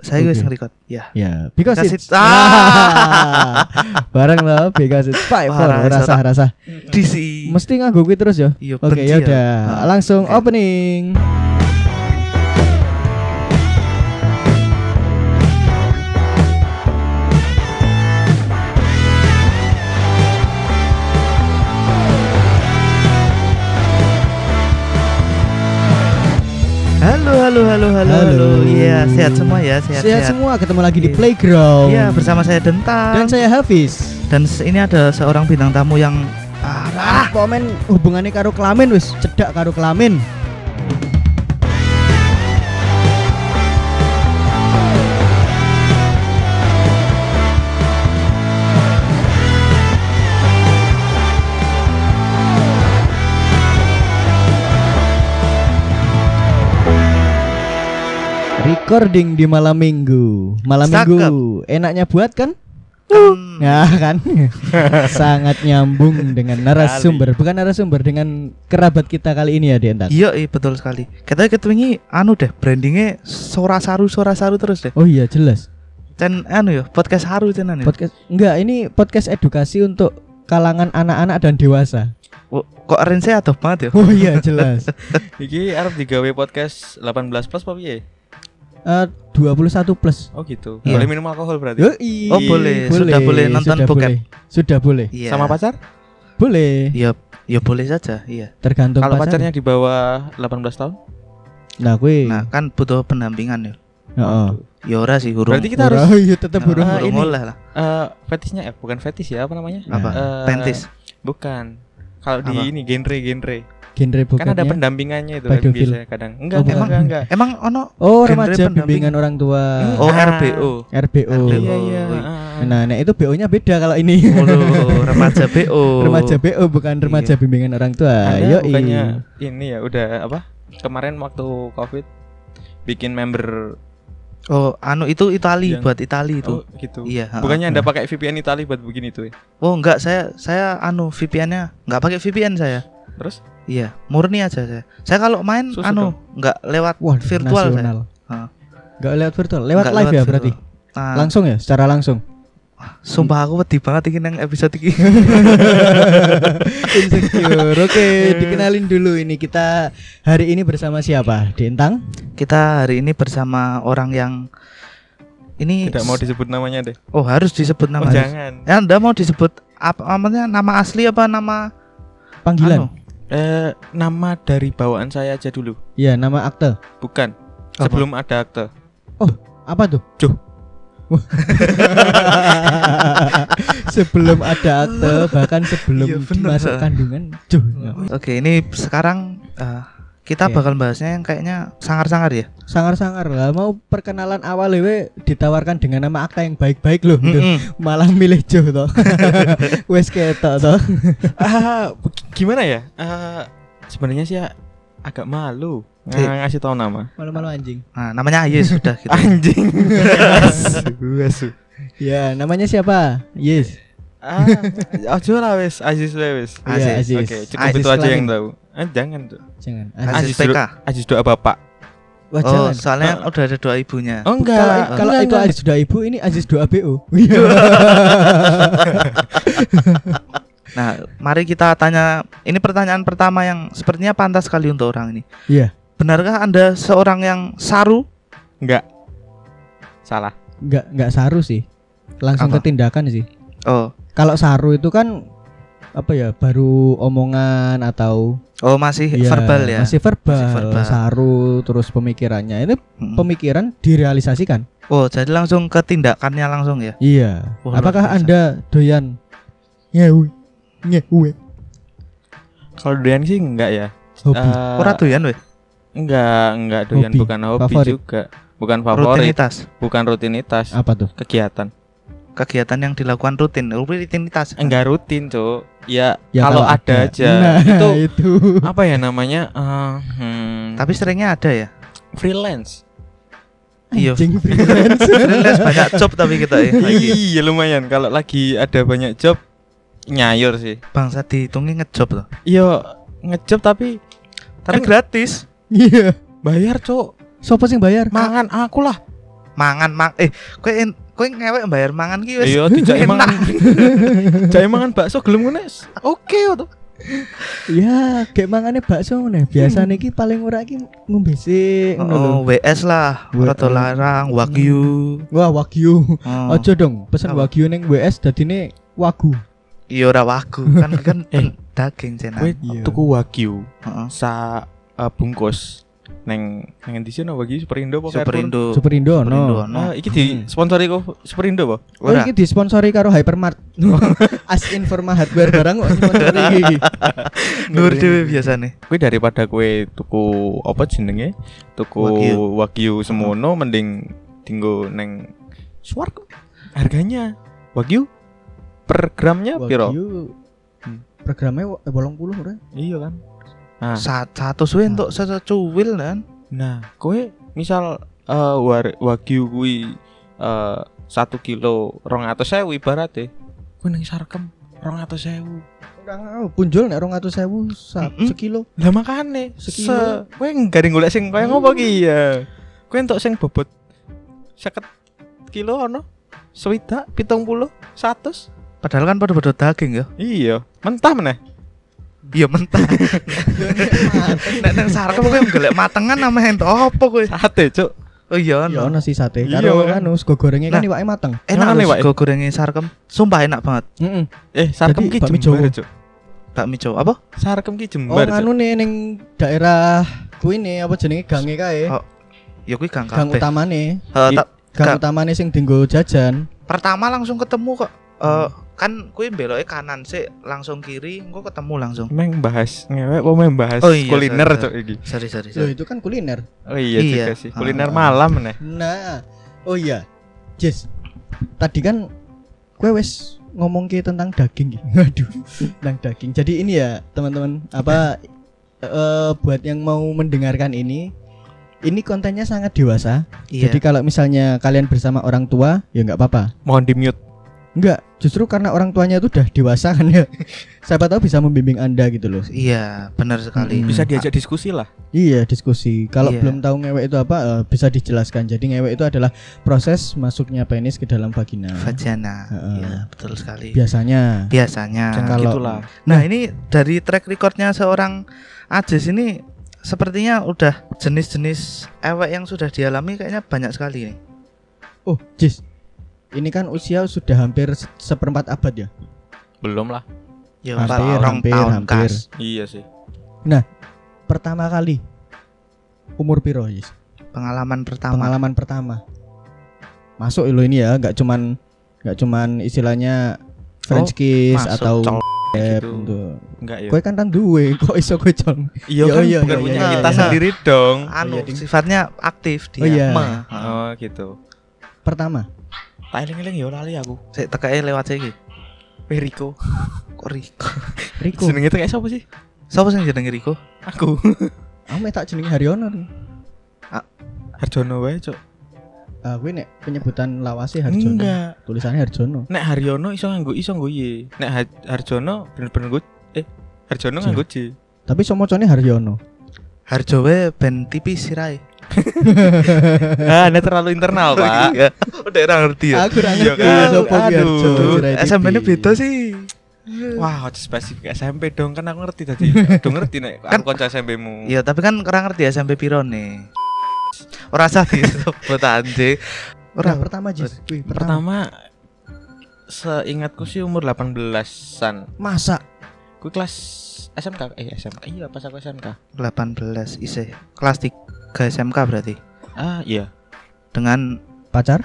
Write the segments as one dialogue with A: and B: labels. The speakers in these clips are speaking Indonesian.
A: Saya guys
B: Oke.
A: nge-record. Ya.
B: Ya, because,
A: Because
B: it's,
A: it's- Ah.
B: bareng loh, because it's five, four,
A: Parah,
B: rasa
A: sorak.
B: rasa.
A: DC.
B: Mesti nganggo kuwi terus ya.
A: Iya,
B: Oke,
A: benci
B: ya
A: ya.
B: udah.
A: Ah,
B: Langsung
A: oke.
B: opening.
A: Halo, halo, halo, halo, halo.
B: Halo.
A: Iya, sehat semua ya, sehat.
B: Sehat,
A: Sehat,
B: semua, ketemu lagi di
A: Iya.
B: playground.
A: Iya, bersama saya Dentang.
B: Dan saya Hafiz.
A: Dan se- ini ada seorang bintang tamu yang Ah, parah.
B: Komen hubungannya karo kelamin wis, cedak karo kelamin. Recording di malam minggu, malam
A: Cakep.
B: minggu, enaknya buat kan? Nah kan sangat nyambung dengan narasumber bukan narasumber dengan kerabat kita kali ini ya Dentan.
A: Iya, iya, betul sekali. Kita ketemu anu deh, brandingnya Sora Saru Sora Saru terus deh.
B: Oh iya jelas.
A: Cen anu ya, podcast Haru cenan ya.
B: Podcast enggak ini podcast edukasi untuk kalangan anak-anak dan dewasa.
A: Wo- Oh, Kok range saya adoh banget ya?
B: Oh iya jelas.
C: Iki arep digawe podcast 18 plus apa piye?
B: Eh 21 plus.
C: Oh gitu.
A: Iya.
C: Boleh minum alkohol berarti.
B: Yoi,
A: Oh, boleh. Sudah boleh nonton
B: sudah
A: bokep.
B: boleh. Sudah boleh.
A: Iya.
C: Sama pacar?
B: Boleh.
A: Iya, ya boleh saja, iya.
B: Tergantung
C: Kalau
B: pasangan.
C: pacarnya di bawah 18 tahun?
B: Nah, kuwi.
A: Nah, kan butuh pendampingan ya.
B: Heeh.
A: Ya ora sih huruf.
C: Berarti kita harus
B: Oh iya tetap
A: Nah,
B: burung
A: huruf
C: ini.
A: oleh lah.
C: eh, fetisnya eh bukan fetis ya apa namanya?
B: Nah.
A: Apa?
C: Eh,
A: Pentis.
C: Bukan. Kalau
A: Apa?
C: di ini genre-genre.
B: genre
C: Kan ada
B: bokepnya.
C: pendampingannya itu kan
B: Pedofil.
C: biasanya kadang. Enggak,
B: Oh,
C: enggak,
A: bukan.
C: enggak, enggak.
A: Emang ono
B: Oh,
A: genre
B: remaja
A: pendamping.
B: bimbingan orang tua.
C: Hmm.
A: Oh,
C: Ah.
A: RBO.
B: RBO.
A: RBO.
C: Iya, iya.
A: Oh,
C: ah, ah.
B: Nah, nek itu BO-nya beda kalau ini.
A: Waduh, Iya. remaja BO.
B: remaja BO bukan remaja bimbingan orang
A: Nah,
B: tua.
C: Anda
B: Yo
C: bukannya ini ya udah apa? Kemarin waktu Covid bikin member
A: Oh, anu itu Itali
C: Yang-
A: buat Itali
C: itu
A: itu.
C: gitu.
A: Iya, ha,
C: Bukannya
B: ha.
C: Anda pakai VPN Italia buat begini tuh ya.
A: Oh, enggak saya saya anu VPN-nya enggak pakai VPN saya.
C: Terus
A: Iya, murni aja saya. Saya kalau main
C: Susu
A: anu enggak lewat
B: Wah,
A: virtual saya.
B: nasional.
A: Heeh.
B: Enggak lewat virtual, lewat
A: Enggak
B: live ya
A: virtual.
B: berarti.
A: Nah,
B: Langsung ya, secara langsung.
A: sumpah aku wedi banget iki nang episode iki.
B: Insecure. Oke,
A: Iya.
B: dikenalin dulu ini kita hari ini bersama siapa? Dentang?
A: Kita hari ini bersama orang yang ini
C: tidak mau disebut namanya deh.
A: Oh, harus disebut
C: Oh,
A: nama.
C: jangan.
A: Ya, Anda mau disebut apa namanya nama asli apa nama anu?
B: Panggilan.
C: Eh, nama dari bawaan saya aja dulu.
B: Iya, nama akte.
C: Bukan.
A: Apa?
C: Sebelum ada akte.
B: Apa tuh?
C: Joh.
B: sebelum ada akte, bahkan sebelum
A: Iya, bener.
B: masuk kandungan. Juh.
A: Oke, ini sekarang eh, kita
B: Oke.
A: bakal bahasnya yang kayaknya sangar-sangar ya.
B: Sangar-sangar lah mau perkenalan awal we ditawarkan dengan nama akta yang baik-baik loh. gitu.
A: Mm-mm.
B: malah milih Joe toh wes ketok toh
C: ah, beg- gimana ya? Eh, sebenarnya sih ya agak malu ng-
B: Iya.
A: Eh.
C: ngasih tahu nama.
B: malu-malu anjing
A: Nah, namanya Ayu sudah gitu.
C: Anjing.
B: ya namanya siapa yes
C: ah, ojo lah wes, Aziz we wes.
A: Aziz.
B: Iya, Aziz
C: Oke, cukup
B: Aziz
C: itu aja
B: Kelamin.
C: yang tahu. Eh, jangan tuh.
B: jangan Aziz,
A: Aziz
C: Aziz dulu.
A: PK.
C: Aziz doa bapak.
B: Wah,
A: Oh,
B: jangan.
A: soalnya udah ada dua
B: Eh,
A: ibunya.
C: Oh
B: kalau,
C: enggak.
B: kalau itu Aziz sudah ibu ini Aziz 2 ABO
A: Iya. Nah, mari kita tanya. Ini pertanyaan pertama yang sepertinya pantas sekali untuk orang ini.
B: Iya.
A: Benarkah Anda seorang yang saru?
C: Enggak. Salah.
B: nggak nggak saru sih langsung
A: Apa?
B: ke tindakan sih
A: Oh,
B: kalau saru itu kan apa ya baru omongan atau
A: oh masih
B: ya,
A: verbal ya.
B: masih verbal,
A: Masih verbal. Hmm.
B: saru terus pemikirannya ini
A: Mm-mm.
B: pemikiran direalisasikan
A: Oh, jadi langsung ke tindakannya langsung ya.
B: Iya.
A: Wah, luar
B: Apakah
A: biasa.
B: Anda doyan nyewe? Nyewe.
C: Kalau doyan sih enggak ya.
B: Hobi.
C: Eh,
A: Ora doyan weh,
C: enggak, enggak doyan
B: Hobi.
C: bukan hobi
B: Favorit. Ah.
C: juga. Bukan favorit,
A: rutinitas.
C: bukan rutinitas,
B: Apa tuh?
C: kegiatan.
A: Kegiatan yang dilakukan rutin, rutinitas.
C: enggak rutin cok ya,
B: Ya,
C: kalau ada aja
B: Nah,
C: itu
B: itu. itu.
C: apa ya namanya Eh, hmm,
A: Tapi seringnya ada ya.
C: freelance
A: Iya.
B: Anjing freelance.
A: Freelance banyak job tapi kita ya lagi.
C: iya lumayan kalau lagi ada banyak job nyayur sih
A: Bangsa dihitungnya ngejob loh.
C: iya ngejob tapi
A: Tapi
C: Kan-
A: gratis.
B: Iya.
C: bayar cok
B: Sopo sing bayar?
C: mangan aku lah
A: mangan mang eh kowe en- kowe ngewek bayar mangan ki wis
C: Iya, dijak
A: enak.
C: mangan, dijak mangan bakso gelem ngono. wis. Oke
A: Oh,
C: to.
B: Ya, kayak mangane bakso nih. Biasa niki paling ora iki ngombe sik
A: Hmm. Oh,
B: ngono lho.
A: WS lah,
B: W-
A: rada larang, wagyu.
B: Wah, wagyu.
A: Oh.
B: Ojo dong, pesen
A: Apa?
B: wagyu ning WS dadine wagu.
A: Iya ora wagyu, kan kan
C: Eh.
A: daging cenan.
C: Kowe
B: Iya.
C: tuku wagyu
A: Heeh.
C: sa eh, bungkus neng neng di sini wagyu Superindo apa Carrefour?
A: Superindo.
B: Superindo
A: Superindo, no.
B: no.
C: Nah, iki disponsori kok Superindo apa?
B: Oh,
A: Ora.
B: ini disponsori karo Hypermart. As Informa Hardware barang kok sponsori iki.
A: Nur
C: iya,
A: dhewe biasane.
C: Kowe daripada kowe tuku apa jenenge? Tuku
A: Wagyu.
C: wagyu semono mending tinggo neng Swargo. Harganya wagyu per gramnya piro?
B: Wagyu. Programnya wa- eh, 80 ora?
C: Iya kan. Nah,
A: Sa- Satu suwe entuk secuwil kan.
C: nah kowe misal eh, war- wagyu kuwi eh, satu kilo rong atus sewu ibarat ya. Kowe neng sarkem rong atus sewu.
B: Ora ngau, oh, punjul nek 200.000 sa-
A: Mm-mm.
B: sekilo.
C: Lah makane
B: Sekilo.
C: se kowe garing golek sing kaya ngopo ki ya. Kowe entuk sing bobot 50 kilo ono. Swidak 70 100.
A: Padahal kan padha-padha daging ya.
C: Iya, mentah meneh.
A: Iya mentah. Nek nang sarkem kowe golek matengan nama entuk apa kowe?
C: Sate, Cuk.
A: Oh iya
B: Ya
A: no.
B: ono sih sate.
C: Iya,
B: Karo
C: kan.
B: anu sego gorengnya
A: Nah.
B: kan iwake mateng.
A: Enak
C: Mana
A: lho
C: nih, Pak?
A: sego gorenge sarkem. Sumpah enak banget.
B: Heeh.
C: Eh, sarkem
B: Jadi,
C: ki
B: bakmi
C: jembar,
B: Jawa.
C: Cuk.
A: Bakmi Jawa apa?
C: Sarkem ki
B: Oh,
C: jembar, Cuk.
B: anu nih ning daerah kuwi nih apa jenenge gange kae.
A: Oh, Ya kuwi gang
B: Gang
A: kabeh. Eh,
B: utamane.
A: tak- Gang.
B: Gang utamane sing dinggo jajan.
A: pertama langsung ketemu kok. Eh kan kuwi beloke kanan sik, langsung kiri, engko ketemu langsung.
C: Meng bahas ngewek apa meng bahas
A: Oh, iya,
C: kuliner,
A: sorry,
C: Cuk iki.
A: Sorry, sorry,
B: Loh,
A: sorry.
B: itu kan kuliner.
C: Oh iya,
A: Iya.
C: juga sih. Kuliner
A: Ah.
C: malam meneh.
B: Nah, oh iya, Jess, tadi kan kue wes ngomong ke tentang daging, gitu. aduh, tentang daging. Jadi ini ya teman-teman, apa eh, buat yang mau mendengarkan ini, ini kontennya sangat dewasa.
A: Iya.
B: Jadi kalau misalnya kalian bersama orang tua, ya nggak apa-apa.
C: Mohon di-mute.
B: Nggak, justru karena orang tuanya itu udah dewasa kan ya. Siapa tahu bisa membimbing anda gitu loh.
A: Iya, benar sekali.
B: Mm-mm.
C: Hmm, Bisa diajak diskusi lah.
B: Iya diskusi. Kalau
A: Iya.
B: belum tahu ngewek itu apa, eh, bisa dijelaskan. Jadi ngewek itu adalah proses masuknya penis ke dalam vagina.
A: Vajana.
B: Heeh.
A: Iya, betul sekali.
B: biasanya
A: Biasanya.
B: Jangan- Kalau-
C: Gitulah.
A: Nah, ini dari track recordnya seorang Ajis ini sepertinya udah jenis-jenis ewek yang sudah dialami kayaknya banyak sekali nih.
B: oh jis ini kan usia sudah hampir se- seperempat abad ya
C: Belum lah.
A: Ya,
B: Hampir,
A: Pak, orang
B: hampir,
A: tahun
B: hampir.
A: kas.
C: Iya sih.
B: pertama kali umur piro jis
A: Pengalaman pertama.
B: pengalaman pertama Ah, masuk lo ini ya nggak cuman nggak cuman istilahnya French kiss
A: masuk,
B: atau
C: cong,
B: lab
C: gitu.
B: untuk-
C: Enggak ya.
B: Eh, Kowe kan kan duwe kok iso kowe cong.
C: Iya
B: Iya,
C: kan
B: iya,
C: bukan
B: iya,
C: punya
A: iya,
C: kita
A: iya.
C: sendiri dong.
A: Anu,
B: Oh, iya, ding.
A: sifatnya aktif dia.
B: Oh, iya.
A: Me. Heeh.
C: Oh gitu.
B: Pertama.
C: Tai eling ya lali aku.
A: Sik tekeke lewat siki.
C: Riko.
A: Kok Riko?
B: Riko.
C: Jenenge tengah siapa sih?
A: Sapa sing jenenge Riko?
C: Aku.
B: Aku tak jenenge Haryono. nih.
C: Harjono wae, Cuk.
B: Ah, kowe nek penyebutan lawase Harjono.
C: Enggak.
B: Tulisannya Harjono.
C: Nek Haryono iso nganggo iso nganggo Y. Nek Ha- Harjono bener-bener nggo eh Harjono
B: J.
C: nganggo J.
B: Tapi somocone Haryono.
A: Harjowe ben tipis sirai.
C: Ah, nek terlalu internal, Pak.
A: Iya. Udah ora ngerti ya.
B: Aku ora
C: Iya
B: ngerti
C: kan?
B: sapa ki
C: Aduh,
B: Harjo Sirait
A: SMP-nya
B: Tipi.
A: beda sih.
C: Wah, wow, spesifik SMP dong kan aku ngerti tadi. Dong ngerti nek
A: Kan-
C: aku kanca SMP-mu.
A: Iya, tapi kan kurang ngerti ya SMP piro nih. Ora usah disebut anjing.
B: Ora
A: Ora
B: pertama Jis. Wih, pertama.
C: Pertama seingatku sih umur 18-an.
B: Masa
C: Ku kelas SMK eh SMK. Iya, pas aku SMK.
A: 18 isih kelas 3 SMK berarti
C: Ah, iya.
A: dengan
B: pacar?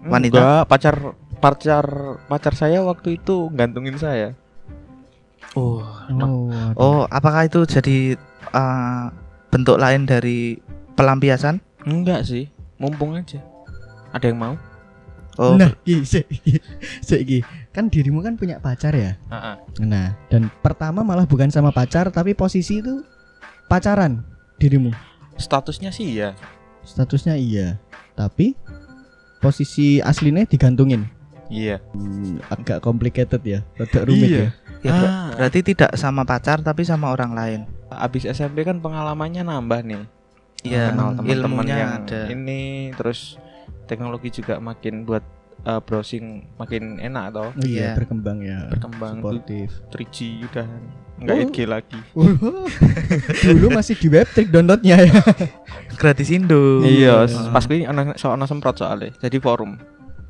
A: Wanita?
C: Enggak, pacar pacar pacar saya waktu itu gantungin saya.
A: oh
B: Oh.
A: oh apakah itu jadi eh, bentuk lain dari pelampiasan
C: Enggak sih, mumpung aja. Ada yang mau?
A: oh
B: Nah, iki sik, iki. Sik, iki. Kan dirimu kan punya pacar ya?
C: Heeh.
B: Nah, dan pertama malah bukan sama pacar tapi posisi itu pacaran dirimu.
C: Statusnya sih ya.
B: Statusnya iya, tapi posisi aslinya digantungin.
C: Iya.
B: Agak complicated ya, agak rumit
C: Iya.
B: ya.
A: ya, ber-
C: Ah.
A: berarti tidak sama pacar tapi sama orang lain
C: Abis SMP kan pengalamannya nambah nih.
A: Iya,
B: Hmm.
C: Kenal teman-teman
A: ilmunya
C: yang
A: ada.
C: ini terus teknologi juga makin buat eh, browsing makin enak
B: Oh
C: toh
A: Iya.
B: iya berkembang ya
C: berkembang tuh
B: sportif
C: 3G udah nggak
B: Oh.
C: 8G lagi
B: dulu masih di webtrick downloadnya ya
A: gratis Indo
C: iya
B: iya.
C: pas kuwi ana soalnya semprot soalnya jadi forum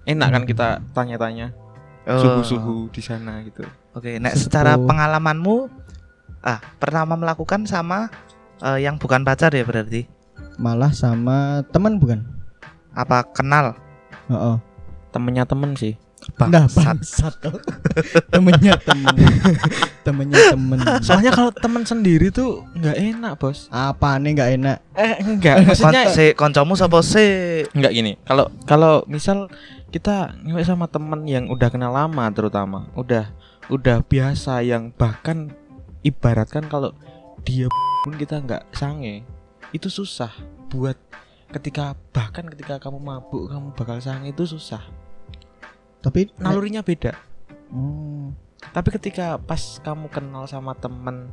C: enak kan kita tanya-tanya
A: Oh,
C: suhu-suhu di sana gitu
A: oke nek
B: Suhu.
A: secara pengalamanmu ah pertama melakukan sama eh, yang bukan pacar ya berarti
B: malah sama teman bukan
A: apa kenal
B: Heeh.
C: temennya temen sih
B: nah
A: Bangsat.
B: bangsat toh. temennya temen temennya temen
C: soalnya kalau temen sendiri tuh nggak enak bos
B: apa nih nggak enak
C: eh enggak maksudnya
A: Kon- si koncomu sapa sih
C: Enggak gini, kalau kalau misal kita ngewek sama temen yang udah kenal lama terutama, udah udah biasa yang bahkan ibaratkan kalau dia pun kita nggak sange, itu susah buat ketika bahkan ketika kamu mabuk kamu bakal sange itu susah.
B: tapi
C: Nalurinya beda.
B: Hmm.
C: Tapi ketika pas kamu kenal sama temen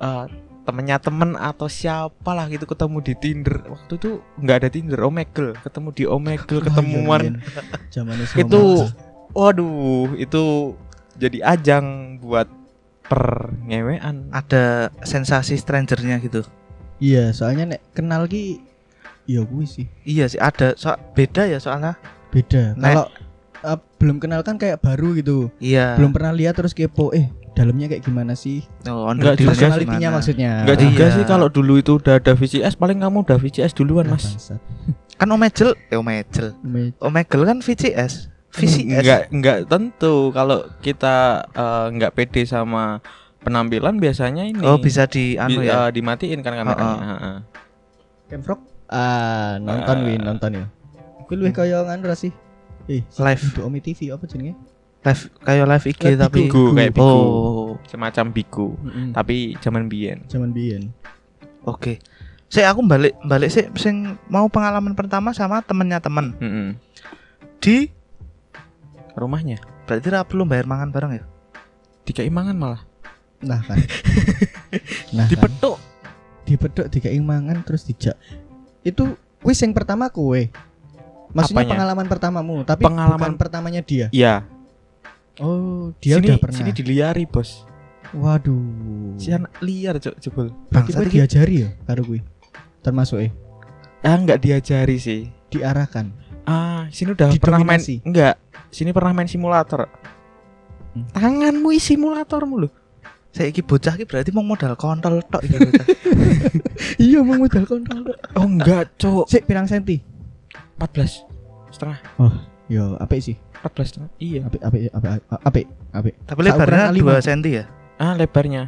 C: eh, temennya temen atau siapalah gitu ketemu di Tinder waktu itu nggak ada Tinder Omegle ketemu di Omegle
B: Wah,
C: ketemuan
B: iya, iya. Zamannya semua
C: itu
B: macam.
C: waduh itu jadi ajang buat
A: Ah,
C: perngewean
A: ada sensasi strangernya gitu
B: iya soalnya nek kenal ki ya gue sih
A: iya sih ada so beda ya soalnya
B: beda
A: Nek.
B: kalau eh, belum kenal kan kayak baru gitu
C: Nah.
A: iya
B: belum pernah lihat terus kepo eh dalamnya kayak gimana sih
A: oh,
C: Nggak,
A: deal-nya
B: personalitinya
A: gimana?
B: maksudnya
C: Enggak
A: Ah,
C: juga
A: iya.
C: sih kalau dulu itu udah ada VCS paling kamu udah VCS duluan
B: Ah,
C: mas
B: bangsat.
A: kan omegel eh omegel
B: Me-
A: omegel kan VCS VCS
C: enggak enggak Hmm, tentu kalau kita eh, enggak pede sama penampilan biasanya ini
A: oh bisa di
C: Bi-
A: anu ya
C: eh, dimatiin kan kameranya Heeh.
B: Camfrog ah nonton
C: Ah.
B: win nonton ya gue lebih kayak nganu ra sih eh
A: live
B: untuk Omi TV apa jenenge
A: live kayak live IG
B: Live
A: tapi
C: bigo kayak bigo
A: oh
C: semacam bigo tapi zaman biyen
B: zaman biyen
A: oke Sik, aku balik balik sih sing mau pengalaman pertama sama temennya temen
C: Heeh.
A: di
C: rumahnya
A: berarti ra perlu bayar mangan bareng ya
C: tiga imangan malah
B: nah kan nah kan.
C: dipetuk
B: dipedok dikei mangan terus dijak itu wis yang pertama kue maksudnya
C: Apanya?
B: pengalaman pertamamu tapi
C: Pengalaman-
B: bukan pertamanya dia
C: ya
B: oh dia
C: sini,
B: udah pernah
C: sini diliari bos
B: waduh
C: si anak liar cok jebol
B: berarti
A: Bangsat
B: gue
A: iki.
B: diajari ya karo gue termasuk eh
C: ah nggak diajari sih
B: diarahkan
C: ah sini udah pernah main
B: Didominasi.
C: enggak sini pernah main simulator
B: Hmm.
C: tanganmu isi simulatormu loh
A: saya iki bocah iki berarti mau modal kontol tok iki bocah.
B: iya mau modal kontrol
C: oh enggak cok
B: sik pirang senti
C: 14 setengah
B: yo apik sih
C: 14 setengah iya
B: apik apik apik apik apik
A: tapi lebarnya
B: Saukuran A5.
A: 2 cm ya
C: ah lebarnya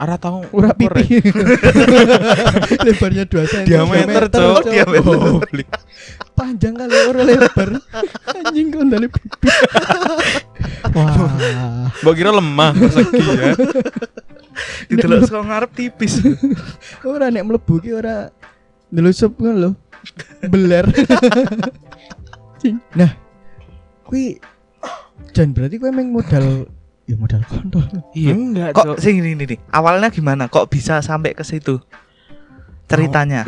C: arah tahu
B: Ura
C: ukur ya.
B: pipi Lebarnya 2 cm
C: diameter cok
B: Cok.
C: diameter
B: Oh, Panjang kali ora lebar Anjing kondali pipi Wah
C: Mbak kira lemah segi ya
A: didelok saka ngarep tipis
B: Ora nek mlebu ki ora ndelusup ngono lho. Beler. Cing. nah, kuwi dan berarti kowe emang modal ya modal kontol.
A: Iya.
C: enggak
A: kok
C: cok
A: sing ini nih awalnya gimana kok bisa sampai ke situ ceritanya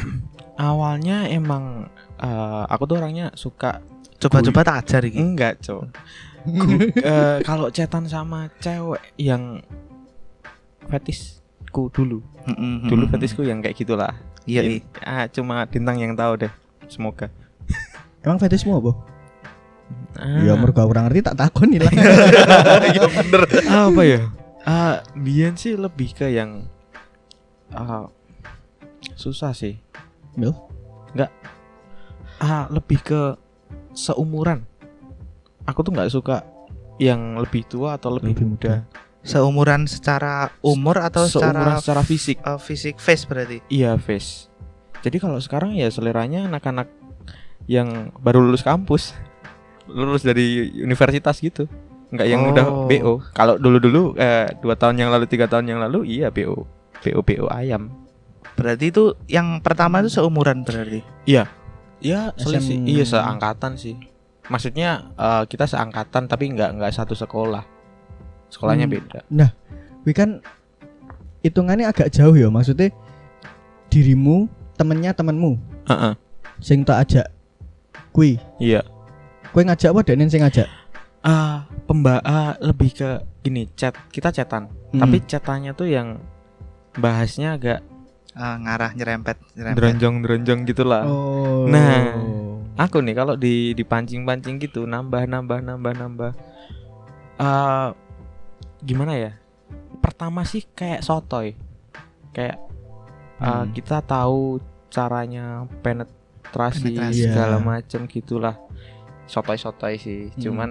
C: Oh. awalnya emang eh, aku tuh orangnya suka
A: coba-coba tak ajar iki
C: enggak cok Gu- eh, kalau cetan sama cewek yang fetisku dulu
A: Mm-mm.
C: Hmm? dulu fetisku yang kayak gitulah
A: iya iya.
C: In- ah, cuma bintang yang tahu deh semoga
B: Emang fetishmu apa?
C: Ah,
B: Ya mergo aku ora ngerti tak takoni lah.
A: Iya bener
C: apa ya ah Bian sih lebih ke yang ah, susah sih
B: Mil?
C: enggak ah lebih ke seumuran aku tuh nggak suka yang lebih tua atau lebih,
B: Lebih muda.
C: muda,
A: seumuran secara umur atau
C: seumuran
A: secara
C: secara fisik
A: eh, fisik face berarti
C: Iya, face. Jadi kalau sekarang ya seleranya anak-anak yang baru lulus kampus, lulus dari universitas gitu, nggak yang udah
A: Oh.
C: BO. Kalau dulu-dulu eh, dua tahun yang lalu, tiga tahun yang lalu, iya BO, BO, BO ayam.
A: berarti itu yang pertama itu seumuran berarti
C: Iya,
B: SM.
C: selisih. Iya, seangkatan sih. Maksudnya eh, kita seangkatan tapi nggak nggak satu sekolah. Sekolahnya
B: Hmm.
C: beda.
B: Kuwi kan hitungannya agak jauh ya, maksudnya dirimu temennya temenmu
C: Heeh.
B: sing tak ajak kui
C: Iya.
B: kue ngajak apa dan sing ngajak
C: Ah, pemba ah, lebih ke gini, chat. Kita chatan. Hmm. Tapi chatannya tuh yang bahasnya agak
A: Ah, ngarah nyerempet nyerempet
C: dronjong-dronjong gitulah.
B: oh
C: Nah. aku nih kalau di dipancing-pancing gitu nambah nambah nambah nambah Eh gimana ya pertama sih kayak sotoy kayak eh,
A: Hmm.
C: kita tahu caranya penetrasi,
A: Penetrasi.
B: Iya.
C: segala macam gitulah sotoy-sotoy sih
B: Hmm.
C: cuman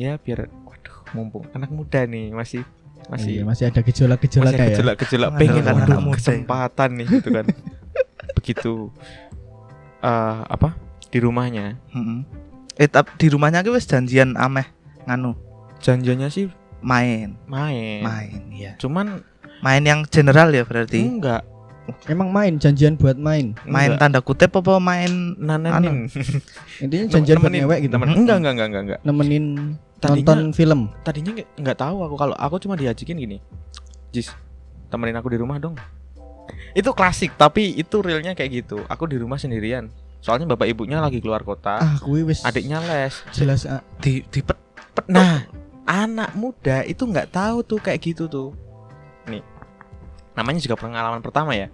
C: ya biar waduh mumpung anak muda nih masih
B: masih
C: masih
B: Iya, masih ada gejolak-gejolak
C: masih
B: kayak ya?
C: gejolak-gejolak
A: Aduh,
C: pengen
A: anak
C: waduh,
A: muda.
C: kesempatan nih gitu kan begitu eh, apa di rumahnya
A: Heeh. eh tap- di rumahnya ki wis janjian ameh nganu
C: janjiannya sih
A: main
C: main.
A: main ya
C: Cuman
A: main yang general ya berarti
C: enggak
B: emang main janjian buat main
A: main
C: Hmm, enggak.
A: tanda kutip apa main
C: nanenin
B: intinya janjian buat ngewek gitu
C: Temen- enggak enggak enggak enggak enggak.
B: nemenin
C: Tadinya-
B: nonton film
C: Tadinya enggak, enggak tahu aku kalau aku cuma diajakin gini. Jis, temenin aku di rumah dong. Itu klasik, tapi itu realnya kayak gitu. Aku di rumah sendirian. Soalnya bapak ibunya lagi keluar kota,
B: ah kui wis
C: adiknya les.
B: jelas ah.
A: di di pet pet-
C: Nah, anak muda itu nggak tahu tuh kayak gitu tuh. Nih, namanya juga pengalaman pertama ya.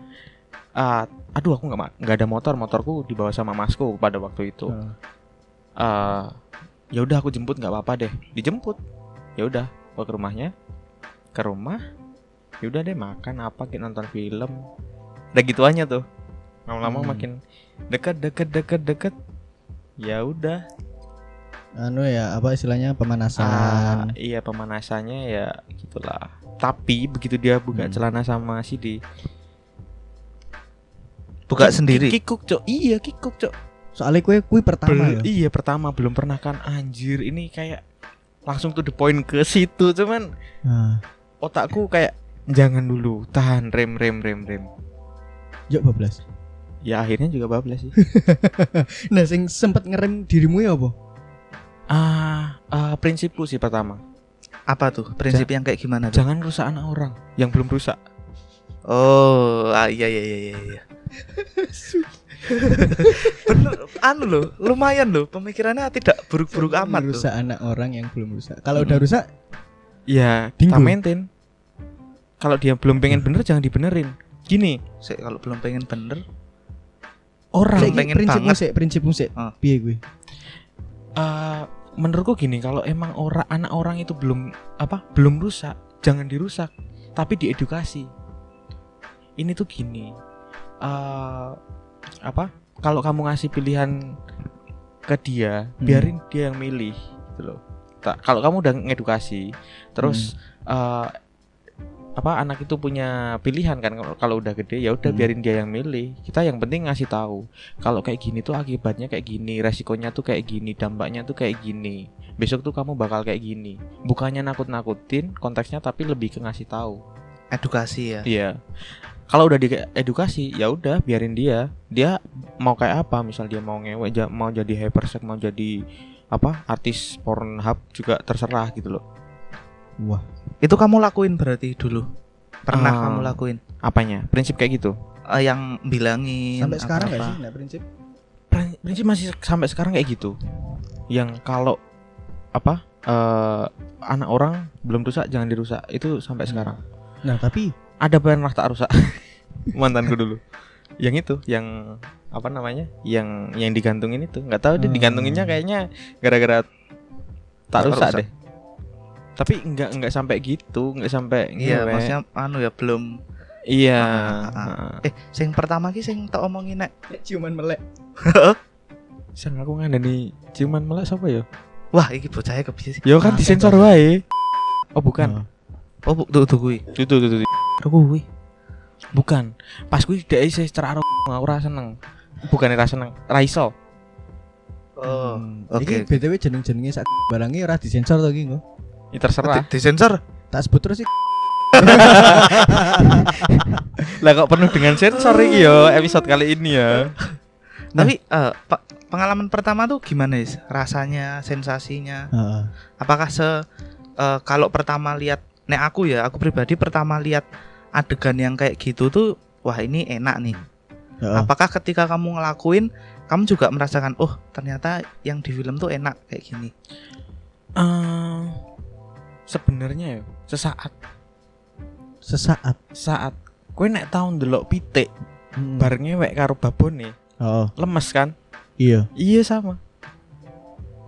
C: Ah, aduh, aku nggak ma- nggak ada motor, motorku dibawa sama masku pada waktu itu.
B: ah,
C: eh ya udah aku jemput nggak apa-apa deh dijemput ya udah gua ke rumahnya ke rumah ya udah deh makan apa kita nonton film udah gitu aja tuh lama-lama
B: Hmm.
C: makin deket deket deket deket ya udah
B: anu ya apa istilahnya
C: Ah,
B: pemanasan
C: iya pemanasannya ya gitulah tapi begitu dia buka
B: Hmm.
C: celana sama si di
A: buka sendiri
C: kikuk cok iya kikuk cok
B: soalnya kue kue pertama
C: Bel-
B: ya.
C: iya pertama belum pernah kan anjir ini kayak langsung to the point ke situ cuman
B: Ah.
C: otakku kayak jangan dulu tahan rem rem rem rem
B: yuk bablas
C: ya akhirnya juga bablas sih
B: nah sing sempet ngerem dirimu ya apa
C: ah ah, prinsipku sih pertama
A: apa tuh prinsip yang kayak gimana tuh
C: jangan rusak anak orang yang belum rusak
A: oh ah, iya iya iya iya, iya bener anu loh lumayan loh pemikirannya tidak buruk-buruk amat tuh
B: rusak anak orang yang belum rusak kalau
C: Hmm.
B: udah rusak
C: ya kita
B: Dinggo.
C: maintain kalau dia belum pengen
B: Hmm.
C: bener jangan dibenerin gini
A: Sik, kalau belum pengen bener
C: orang
A: Sik. pengen
B: prinsip
A: banget.
B: musik prinsip musik
A: Ah.
B: piye gue
C: ah, menurutku gini kalau emang orang anak orang itu belum apa belum rusak jangan dirusak tapi diedukasi ini tuh gini eh apa kalau kamu ngasih pilihan ke dia
B: Hmm.
C: biarin dia yang milih gitu loh Ta- kalau kamu udah ngedukasi terus eh, apa anak itu punya pilihan kan kalau- kalau udah gede ya udah
B: Hmm.
C: biarin dia yang milih kita yang penting ngasih tahu kalau kayak gini tuh akibatnya kayak gini resikonya tuh kayak gini dampaknya tuh kayak gini besok tuh kamu bakal kayak gini bukannya nakut-nakutin konteksnya tapi lebih ke ngasih tahu
A: edukasi ya
C: Iya. Kalau udah diedukasi, ya udah biarin dia. Dia mau kayak apa? Misal dia mau ngewek, ja- mau jadi hypersex, mau jadi apa? Artis Pornhub juga terserah gitu loh.
B: wah
A: itu kamu lakuin berarti dulu pernah
C: Ah.
A: kamu lakuin
C: Apanya? Prinsip kayak gitu.
A: Eh, yang bilangin
B: sampai sekarang
A: apa-apa.
B: gak sih nah prinsip
C: Prin- Prinsip masih sampai sekarang kayak gitu. Yang kalau apa? eh anak orang belum rusak jangan dirusak. Itu sampai sekarang.
B: nah tapi
C: Ada pernah tak rusak mantanku dulu. Yang itu, yang apa namanya? Yang yang digantungin itu. nggak tahu dia
B: Hmm.
C: digantunginnya kayaknya gara-gara tak
A: Tak
C: rusak,
A: rusak.
C: deh. Tapi nggak nggak sampai gitu, nggak sampai
A: iya
C: ngewek.
A: maksudnya anu ya belum
C: Iya.
A: Ah, ah, eh sing pertama ki sing tak omongin nek
B: ciuman melek
C: Sang aku ngandani ciuman melek siapa ya?
A: wah iki bocahnya kebiasa sih
C: Ya
B: Ah,
C: kan disensor
B: kan.
C: wae.
B: Ah.
C: Oh bukan.
A: oh bu tuh tuh kui
C: Itu tuh tuh. tuh.
A: Aduh, kui
C: Bukan. Pas gue dek isih cerah aku ora seneng. Bukan ora seneng, ra iso.
A: oh
B: oke
A: oke.
B: btw jeneng jenengnya sak barangnya ora disensor tuh gitu
C: Ya terserah.
A: Di- disensor
B: tak sebut terus sih
C: lah kok penuh dengan sensor iki yo episode kali ini ya.
B: Nah.
A: tapi eh, pe- pengalaman pertama tuh gimana is rasanya sensasinya
B: Heeh.
A: apakah se eh, kalau pertama lihat nek aku ya aku pribadi pertama lihat adegan yang kayak gitu tuh wah ini enak nih
B: Heeh.
A: apakah ketika kamu ngelakuin kamu juga merasakan oh ternyata yang di film tuh enak kayak gini
C: Eh, sebenarnya ya sesaat
B: sesaat
C: saat kue nek tau ndelok pitik
B: Hmm.
C: bar ngewek karo babone
B: oh
C: lemes kan
B: iya
C: iya sama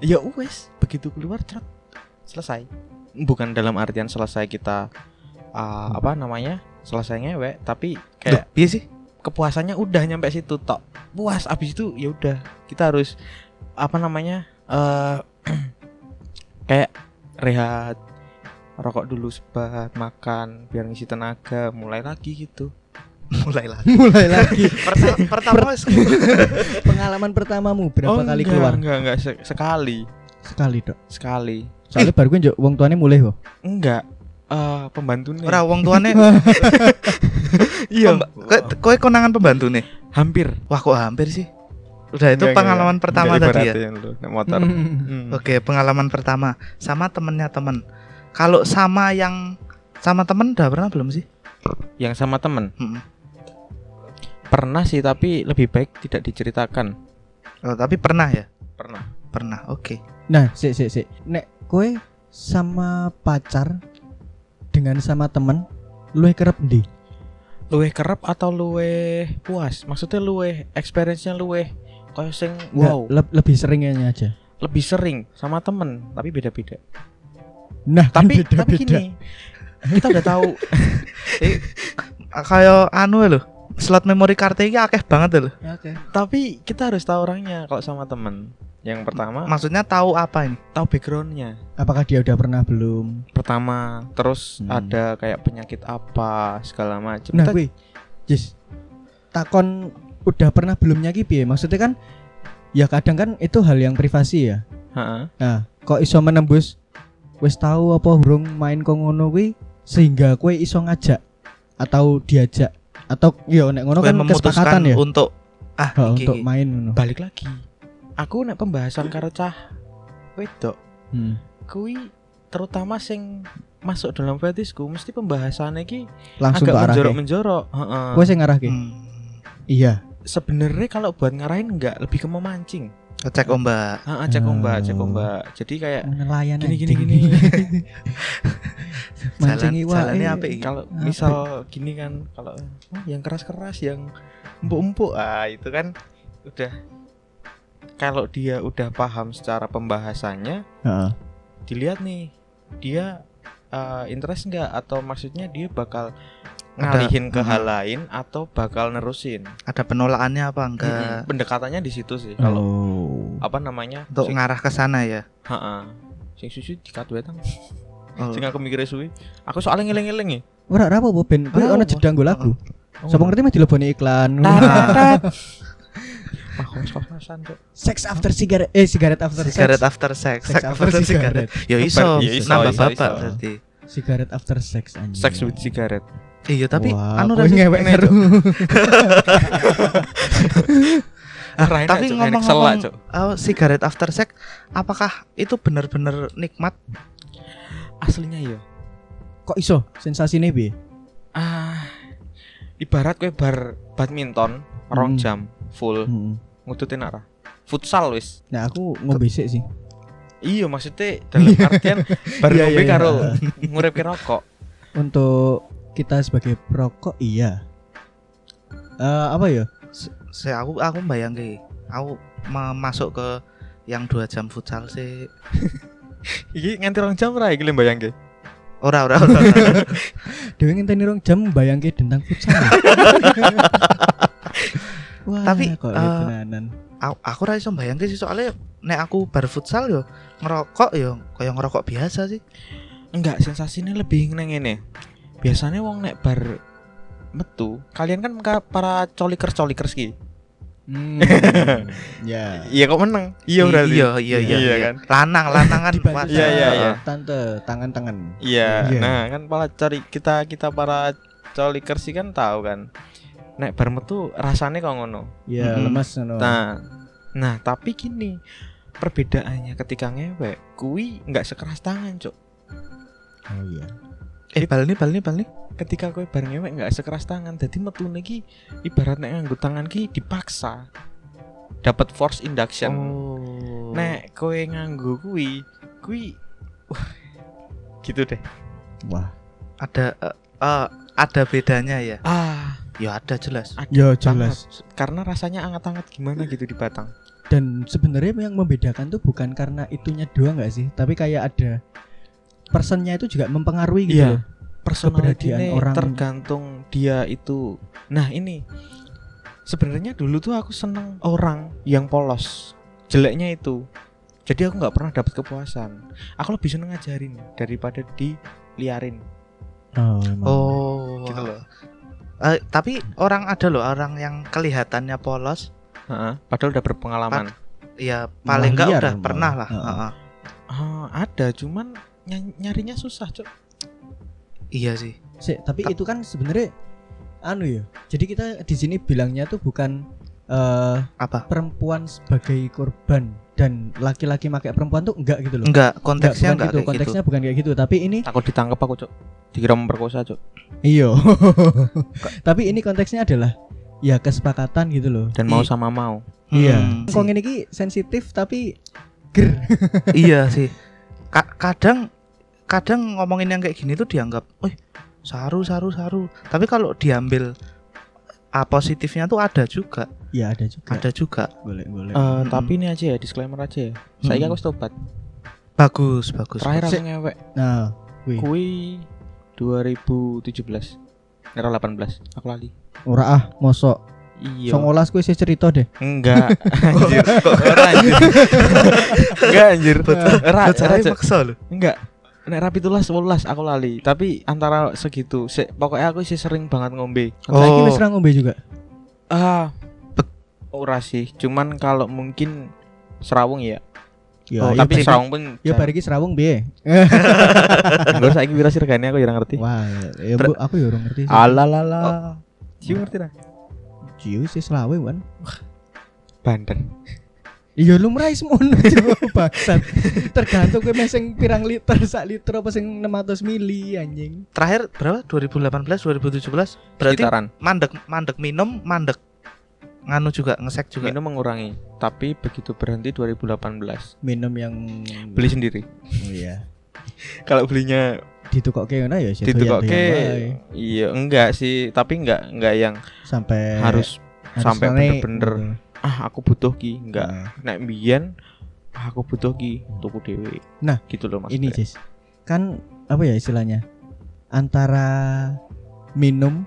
C: ya wes begitu keluar cerat selesai bukan dalam artian selesai kita ah, apa namanya selesai ngewek tapi
A: Loh,
C: kayak
A: piye iya sih
C: kepuasannya udah nyampe situ tok puas abis itu ya udah kita harus apa namanya eh kayak rehat rokok dulu sebat makan biar ngisi tenaga mulai lagi gitu
A: mulai lagi
B: mulai lagi
A: pertama pertama wes
B: pengalaman pertamamu berapa
C: Oh,
B: kali
C: enggak,
B: keluar
C: enggak enggak se- sekali
B: sekali dok
C: sekali
B: soalnya baru gue njok wong tuane mulai kok
C: enggak eh pembantunya
A: ora wong tuane
C: iya
A: pemba- kowe- kowe konangan pembantu nih
C: hampir
A: wah kok hampir sih udah itu
B: Iya,
C: Enggak, enggak,
A: pengalaman
C: enggak.
A: pertama
C: Enggak,
A: tadi ya
C: ibaratin lu, naik motor Hmm.
A: Oke, pengalaman pertama sama temennya temen. Kalau sama yang sama temen udah pernah belum sih?
C: yang sama temen
A: Mm-mm.
C: pernah sih tapi lebih baik tidak diceritakan
A: Oh, tapi pernah ya?
C: pernah
A: Pernah. Oke.
B: nah sik sik sik nek kue sama pacar dengan sama temen lu kerep di
C: luweh kerap atau luweh puas maksudnya luweh experience-nya luweh kayak sing wow
B: lebih seringnya aja
C: lebih sering sama temen tapi beda-beda
B: nah kan
C: tapi
B: beda-beda.
C: tapi gini kita udah tahu
A: Ah, Kayak anu loh, slot memori kartu ini akeh banget ya loh.
B: oke
C: tapi kita harus tahu orangnya kalau sama temen yang pertama
A: Maksudnya tahu apa ini?
C: tahu backgroundnya
B: apakah dia udah pernah belum
C: pertama terus
B: Hmm.
C: ada kayak penyakit apa segala macam
B: nah gue jis takon udah pernah belumnya ki piye maksudnya kan ya kadang kan itu hal yang privasi ya
C: Heeh.
B: Nah, kok iso menembus wis tahu apa hurung main kok ngono kuwi sehingga kue iso ngajak atau diajak atau yo nek ngono
A: Kowe
B: kan kesepakatan
A: memutuskan
B: ya
A: untuk ah
B: Ha,
A: iki,
B: untuk
A: iki.
B: main ngono.
C: balik lagi aku nek pembahasan karo cah wedok kui terutama sing masuk dalam fetisku mesti pembahasannya ki
B: Langsung
C: agak
B: ke arah.
C: menjorok menjorok Heeh.
B: Kowe sing ngarahke.
A: Hmm,
B: Iya.
C: sebenarnya kalau buat ngarahin nggak lebih ke memancing
A: cek ombak.
C: Heeh, cek ombak cek
B: Oh.
C: ombak jadi kayak
B: Nelayan
C: gini gini
B: anjing.
C: gini
B: Mancing
A: Jalan-
B: iwak.
A: jalannya
B: eh.
A: apik iki.
C: kalau misal gini kan kalau "Oh, yang keras keras yang empuk empuk ah itu kan udah kalau dia udah paham secara pembahasannya
B: Heeh.
C: dilihat nih dia uh, interest nggak atau maksudnya dia bakal
A: Ada-
C: ngalihin ke
A: Mhm.
C: hal lain atau bakal nerusin
A: Ada penolakannya apa enggak?
C: Mm-mm. pendekatannya di situ sih kalau
B: Oh.
C: apa namanya
A: Untuk
C: sing,
A: ngarah ke sana ya.
C: ha-ha. sing susu dikat wetang
A: Oh.
C: sing aku mikirnya suwi aku soalnya ngeleng-ngeleng ya
B: Ora ora apa-apa ben kowe
A: Ora
B: ono
A: apa-apa.
B: jedang nggo lagu.
C: Oh.
B: Sopo ngerti Nah. mah dileboni iklan.
C: Tarat. Wah, kos-kosan Cuk.
B: Sex after cigarette eh cigarette after
A: Cigarette
B: sex.
A: after sex,
B: Sex after cigarette.
A: Ya iso,
C: Ya iso,
A: nambah
C: iso,
A: bapak
C: iso.
A: berarti.
B: Cigarette after sex anjing.
C: sex with cigarette
A: Iya, tapi
B: Wah,
A: anu
B: kowe
A: Rasi,
B: ngewek
A: ini,
B: karo.
A: Ah,
C: Raine,
A: tapi
C: Cuk, raine kesel lah,
A: ngomong-ngomong
C: Cuk.
A: uh, sigaret after sex, apakah itu benar-benar nikmat?
C: aslinya
B: iya.
C: ya
B: kok iso sensasine piye?
C: ah ibarat kue bar badminton rong
B: Hmm.
C: jam full
B: Heeh.
C: ngututin arah futsal wis
B: Nah, aku ngombe sik sih.
C: iya maksudnya dalam artian baru
B: Iya,
C: ngombe
B: iya,
C: karo
B: iya.
C: ngurep rokok
B: Untuk kita sebagai perokok iya. Eh apa ya?
A: Saya aku aku bayangke, aku ma- masuk ke yang dua jam futsal sih.
C: iki nganti rong jam ra iki bayang ke
A: Ora ora ora. ora.
B: Dewi ngenteni rong jam bayangke tentang futsal. Wah,
A: Tapi,
B: kok
A: eh,
B: tenanan.
A: aku, aku ra iso bayangke sih soalnya nek aku bar futsal yo ngerokok yo kayak ngerokok biasa sih.
C: enggak sensasinya lebih neng ini biasanya wong nek bar metu kalian kan ka- para colikers colikers ki
B: ya.
C: iya kok meneng
A: I-
C: iya berarti
A: Iya iya iya.
C: Iya,
A: iya.
C: kan?
A: Lanang lanang kan.
B: Dibantu
A: puasa.
C: Iya, iya, iya.
B: Tante, tangan-tangan.
C: Iya,
B: Iya.
C: nah kan para cari kita kita para colikers sih kan tahu kan nek bar metu rasane kok ngono
B: Ya,
A: Mm-mm.
B: lemas ngono.
C: Nah, nah tapi gini perbedaannya ketika ngewek, kui nggak sekeras tangan, cok.
B: Oh iya.
A: Eh bal nih bal nih bal nih.
C: Ketika kowe bareng ngewek nggak sekeras tangan, jadi metu ki ibarat nek nganggo tangan ki dipaksa. dapat force induction.
A: Oh.
C: Nek kowe nganggo kuwi, kuwi wah, gitu deh.
B: Wah.
A: ada eh, eh, ada bedanya ya.
C: Ah,
A: Ya ada jelas.
C: ada
B: Ya
C: banget.
B: jelas.
C: Karena rasanya anget-anget gimana gitu di batang.
B: Dan sebenarnya yang membedakan tuh bukan karena itunya doang nggak sih, tapi kayak ada personnya itu juga mempengaruhi gitu.
C: Iya.
B: loh.
C: personality
B: Keberadaan orang.
C: tergantung dia itu. Nah, ini sebenarnya dulu tuh aku seneng orang yang polos. Jeleknya itu. Jadi aku nggak pernah dapat kepuasan. Aku lebih seneng ngajarin daripada diliarin.
B: Oh, emang.
A: Oh.
C: Gitu loh.
A: Eh, tapi orang ada loh orang yang kelihatannya polos,
C: Heeh, padahal udah berpengalaman.
A: ya paling enggak
B: liar
A: udah
B: malah.
A: pernah lah.
B: Heeh.
A: Heeh.
C: Ah, ada, cuman ny- nyarinya susah, Cuk.
A: Iya sih.
B: Sik, tapi
A: Ta-
B: itu kan sebenarnya anu ya. Jadi kita di sini bilangnya tuh bukan eh
A: Apa?
B: perempuan sebagai korban dan laki-laki pakai perempuan tuh enggak gitu loh.
A: Enggak,
B: Enggak,
A: Hmm, konteksnya enggak
B: bukan gitu.
A: kayak gitu.
B: Konteksnya bukan kayak gitu, tapi ini
C: Takut ditangkap aku, Cuk. Dikira memperkosa, Cuk.
B: Iya. Tapi ini konteksnya adalah ya kesepakatan gitu loh.
C: Dan mau sama mau.
B: Iya.
A: Hmm.
B: Kok ini ki sensitif tapi ger.
A: iya sih Ka- kadang kadang ngomongin yang kayak gini tuh dianggap wih saru saru saru tapi kalau diambil a positifnya tuh ada juga
B: Ya ada juga.
A: ada juga
B: Boleh, boleh.
C: Eh,
A: Mm-mm.
C: tapi ini aja ya, disclaimer aja ya. Saya
A: Mm-mm.
C: aku tobat.
A: bagus bagus bagus.
C: Terakhir aku ngewek.
B: Nah, wih.
C: Kui 2017 Era 18 Aku lali
B: Ora ah, mosok.
C: Iya
B: Songolas kuwi sih cerita deh.
C: Enggak Anjir Ora, anjir. Enggak anjir Ora,
A: Lah,
C: ora,
A: caranya
C: Cuk.
A: maksa loh
C: Enggak Nek rapi tulas welas aku lali Tapi antara segitu se Pokoknya aku sih sering banget ngombe
B: Saiki
A: Oh.
B: wis ra ngombe juga.
C: Ah be- Ora sih Cuman kalau mungkin Serawung ya iya,
B: Ya,
A: Oh,
B: ya,
C: Tapi
A: berarti-
C: serawung pun
B: ya bar iki serawung piye?
C: Gue saiki wira sirgane aku jarang ngerti
B: Wah, ya
A: Ber-
B: bu, aku ya orang ngerti. sih.
C: Alalala Cium ngerti lah
B: Jiu sih selawe kan.
C: Banten
B: Iya lumrah semua bangsat. Tergantung kowe meseng pirang liter, sak liter apa sing 600 mili anjing.
A: terakhir berapa 2018 2017 berarti
C: Sekitaran
A: mandek mandek minum mandek nganu juga ngesek juga
C: Minum mengurangi, tapi begitu berhenti 2018
B: Minum yang
C: beli sendiri.
B: Oh iya.
C: Kalau belinya
B: Ditukokke ngono ya sih.
C: ditukokke, iya enggak sih, tapi enggak enggak yang
B: sampai
C: harus
B: harus
C: sampai
B: rame,
C: bener-bener
B: gitu.
C: ah aku butuh ki, enggak.
B: Nah,
C: Nek mbiyen ah, aku butuh ki tuku dhewe.
B: Nah,
C: gitu loh Mas.
B: ini Jis. Kan apa ya istilahnya? Antara minum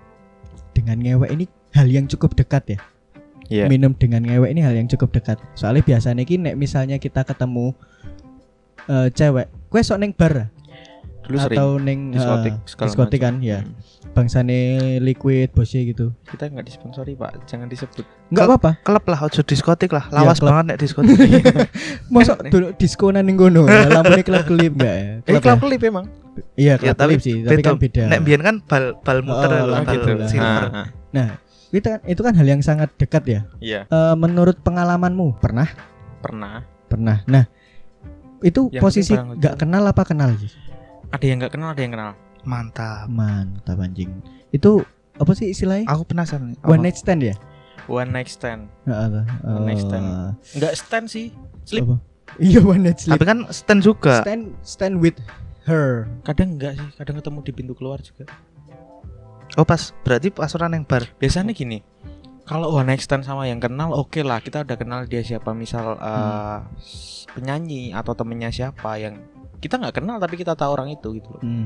B: dengan ngewek ini hal yang cukup dekat ya.
C: Iya.
B: Minum dengan ngewek ini hal yang cukup dekat. Soalnya biasanya ki nek misalnya kita ketemu eh, cewek, kue sok neng bar ah?
C: Dulu sering
B: atau neng
C: diskotik
B: eh,
C: segala
B: diskotik kan
C: macam.
B: ya.
C: Hmm.
B: Bangsane liquid bosnya gitu.
C: Kita enggak disponsori, Pak. Jangan disebut.
B: Enggak
A: Kal-
B: apa-apa.
A: klub lah ojo diskotik lah
B: Iya,
A: lawas
B: klub. Iya.
A: banget nek diskotik
B: Masa dulu diskonan ning kono. Lampune klub-klub enggak ya?
C: Eh,
B: Klub ya?
C: klub klip emang.
B: Iya,
A: Ya,
B: klub
A: tapi
B: klip sih, tapi
A: beda-
B: kan beda.
A: nek biyen kan bal bal muter
B: Oh,
A: loh,
B: lah,
A: bal
B: gitu lah.
A: silver
C: Ah, ah.
B: itu kan itu kan hal yang sangat dekat ya.
C: Iya,
B: Eh, menurut pengalamanmu pernah?
C: pernah.
B: Pernah. Nah, itu
C: Yang
B: posisi
C: penting barang
B: nggak kenal apa kenal? Jis?
C: Ada yang enggak kenal, ada yang kenal.
A: mantap
B: Mantap anjing. Itu apa sih istilahnya?
A: aku penasaran nih,
B: One
A: apa?
B: night stand ya?
C: One night stand.
B: Heeh. Eh,
C: One night stand. Enggak stand sih. Sleep.
B: Apa? Iya one night
A: tapi
B: sleep.
A: kan stand juga
B: Stand stand with her.
C: Kadang enggak sih, kadang ketemu di pintu keluar juga.
A: Oh pas berarti pas orang yang bar.
C: biasanya
B: Oh.
C: gini kalau one night stand sama yang kenal oke lah kita udah kenal dia siapa misal eh,
B: Hmm.
C: s- penyanyi atau temennya siapa yang kita nggak kenal tapi kita tahu orang itu gitu loh
B: Hmm.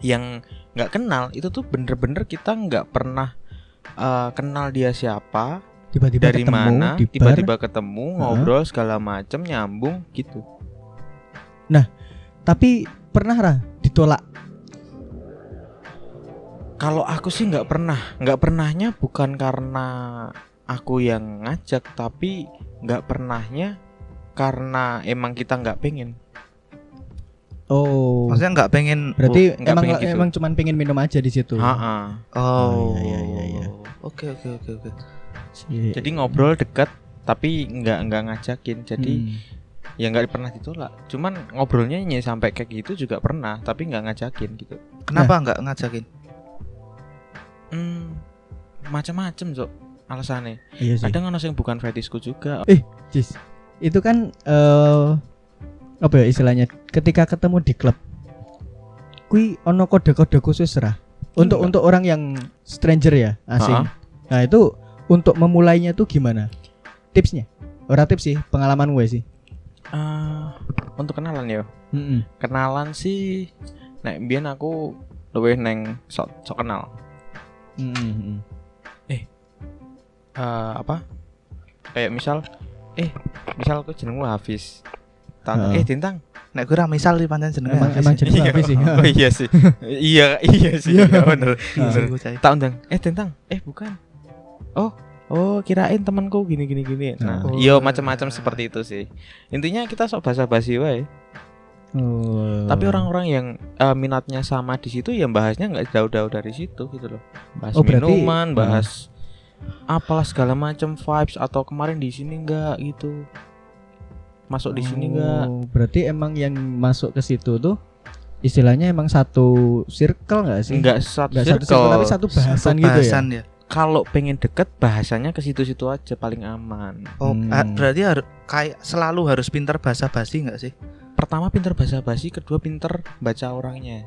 C: yang nggak kenal itu tuh bener-bener kita nggak pernah eh, kenal dia siapa
B: Tiba-tiba
C: dari
B: ketemu
C: mana
B: di bar.
C: tiba-tiba ketemu ngobrol segala macem nyambung gitu
B: Tapi pernah Ra ditolak?
C: kalau aku sih nggak pernah nggak pernahnya bukan karena aku yang ngajak tapi nggak pernahnya karena emang kita nggak pengen
B: Oh.
A: Maksudnya nggak pengen
B: Berarti
C: Oh, nggak
B: emang
C: pengen gitu.
B: emang cuman pengen minum aja di situ.
C: Heeh.
A: oh.
B: iya, iya, iya.
A: Oke oke oke oke.
B: Si-
C: Jadi ngobrol deket tapi nggak nggak ngajakin. Jadi
B: Hmm.
C: ya nggak pernah ditolak. Cuman ngobrolnya ya sampai kayak gitu juga pernah, tapi nggak ngajakin gitu.
B: Nah.
A: Kenapa nggak ngajakin?
C: Hmm, macam-macam sok. alasannya
B: Iya sih.
C: kadang ono sing bukan fetishku juga
B: Jis, itu kan eh apa ya istilahnya? Ketika ketemu di klub, kui ono kode-kode khusus lah. Untuk
C: Enggak.
B: untuk orang yang stranger ya, asing.
C: Iya. Ha-ha.
B: Nah itu untuk memulainya tuh gimana? Tipsnya? Ora tips sih, pengalaman gue sih.
C: Eh, untuk kenalan ya kenalan sih nek biyen aku luwih neng sok sok kenal
B: Mm-mm.
C: Eh, apa kayak misal eh misal aku jenengmu Hafiz Tang,
B: Heeh.
C: eh Dintang
A: Nek gue ra misal di pancen jenenge.
B: Emang Eh, emang jadi
C: Iya.
B: habis sih.
C: oh iya sih iya iya sih
B: Iya.
C: iya bener
B: Heeh.
A: cai.
C: tak undang eh Dintang eh bukan oh oh kirain temanku gini gini gini nah
A: Oh.
C: iya macam-macam seperti itu sih intinya kita sok basa-basi wae
B: Oh.
C: tapi orang-orang yang eh, minatnya sama di situ ya bahasnya nggak jauh-jauh dari situ gitu loh bahas
B: Oh, berarti-
C: minuman bahas apalah segala macam vibes atau kemarin di sini nggak gitu masuk di sini nggak
B: Oh, Berarti emang yang masuk ke situ tuh istilahnya emang satu circle nggak sih?
C: nggak satu
B: Nggak satu circle
C: circle.
B: tapi satu bahasan,
A: Satu
B: gitu
A: bahasan ya.
C: kalau pengen deket bahasanya ke situ-situ aja paling aman
A: Oh,
B: Hmm.
A: ah, berarti harus kayak selalu harus pinter bahasa basi nggak sih?
C: pertama pinter bahasa basi kedua pinter baca orangnya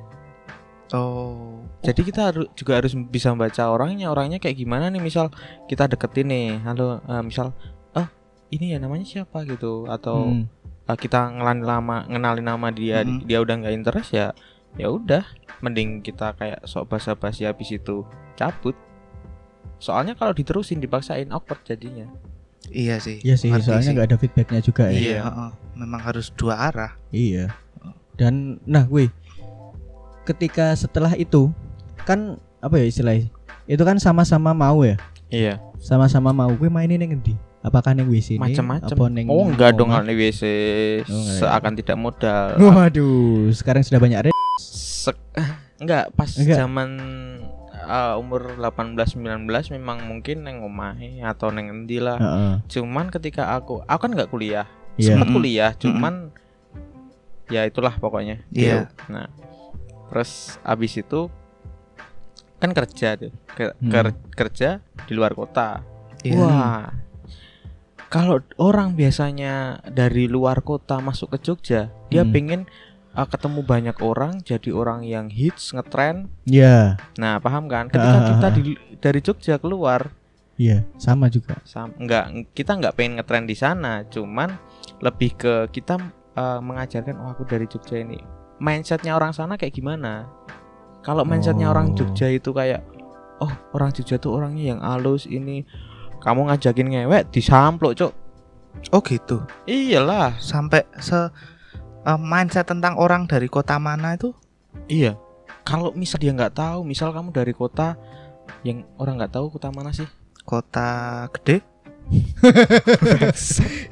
A: Oh.
C: jadi kita harus juga harus bisa baca orangnya orangnya kayak gimana nih misal kita deketin nih halo eh, misal ah ini ya namanya siapa gitu
B: ya.
C: atau
B: Hmm.
C: eh, kita ngelan lama ngenalin nama dia
A: Mhm.
C: dia udah nggak interest ya ya udah mending kita kayak sok basa-basi habis itu cabut soalnya kalau diterusin dipaksain awkward jadinya
A: iya sih.
B: Iya sih,
A: Ngerti
B: soalnya
A: sih.
B: nggak ada feedbacknya juga ya.
A: Iya, heeh. memang harus dua arah.
B: Iya. Dan nah, weh, ketika setelah itu kan apa ya istilahnya? Itu kan sama-sama mau ya,
C: iya
B: sama-sama mau gue mainin yang ngendi? Apakah neng WC ini?
C: macam-macam
B: Apa neng
C: oh enggak dong
B: omah?
C: kalau di WC
B: Oh, enggak ya.
C: seakan tidak modal
B: Waduh, sekarang sudah banyak re-
C: Sek enggak pas
B: Enggak.
C: zaman uh, umur 18 19 memang mungkin neng omahe atau neng endi lah.
B: Heeh.
C: Cuman ketika aku aku kan enggak kuliah.
B: Hmm. Iya.
C: Sempat
A: Mm-mm.
C: kuliah, cuman ya itulah pokoknya.
A: Iya.
C: Gitu. Nah, terus abis itu kan kerja tuh. Ke-
B: Hmm.
C: ker- kerja di luar kota.
A: Iya.
C: Wah. Kalau orang biasanya dari luar kota masuk ke Jogja, dia
B: Hmm.
C: pengen uh, ketemu banyak orang, jadi orang yang hits, ngetren.
B: Iya.
C: Nah, paham kan? Ketika
B: Ah.
C: kita di- dari Jogja keluar,
B: Iya, sama juga.
C: sam enggak kita nggak pengen ngetren di sana, cuman lebih ke kita uh, mengajarkan oh aku dari Jogja ini. Mindsetnya orang sana kayak gimana? Kalau mindsetnya orang
B: Oh.
C: Jogja itu kayak oh, orang Jogja tuh orangnya yang halus ini. Kamu ngajakin ngewek disamplok, Cuk.
A: Oh gitu.
C: Iyalah.
A: Sampai se eh, mindset tentang orang dari kota mana itu?
C: Iya. Kalau misal dia nggak tahu, misal kamu dari kota yang orang nggak tahu kota mana sih?
A: Kota gede?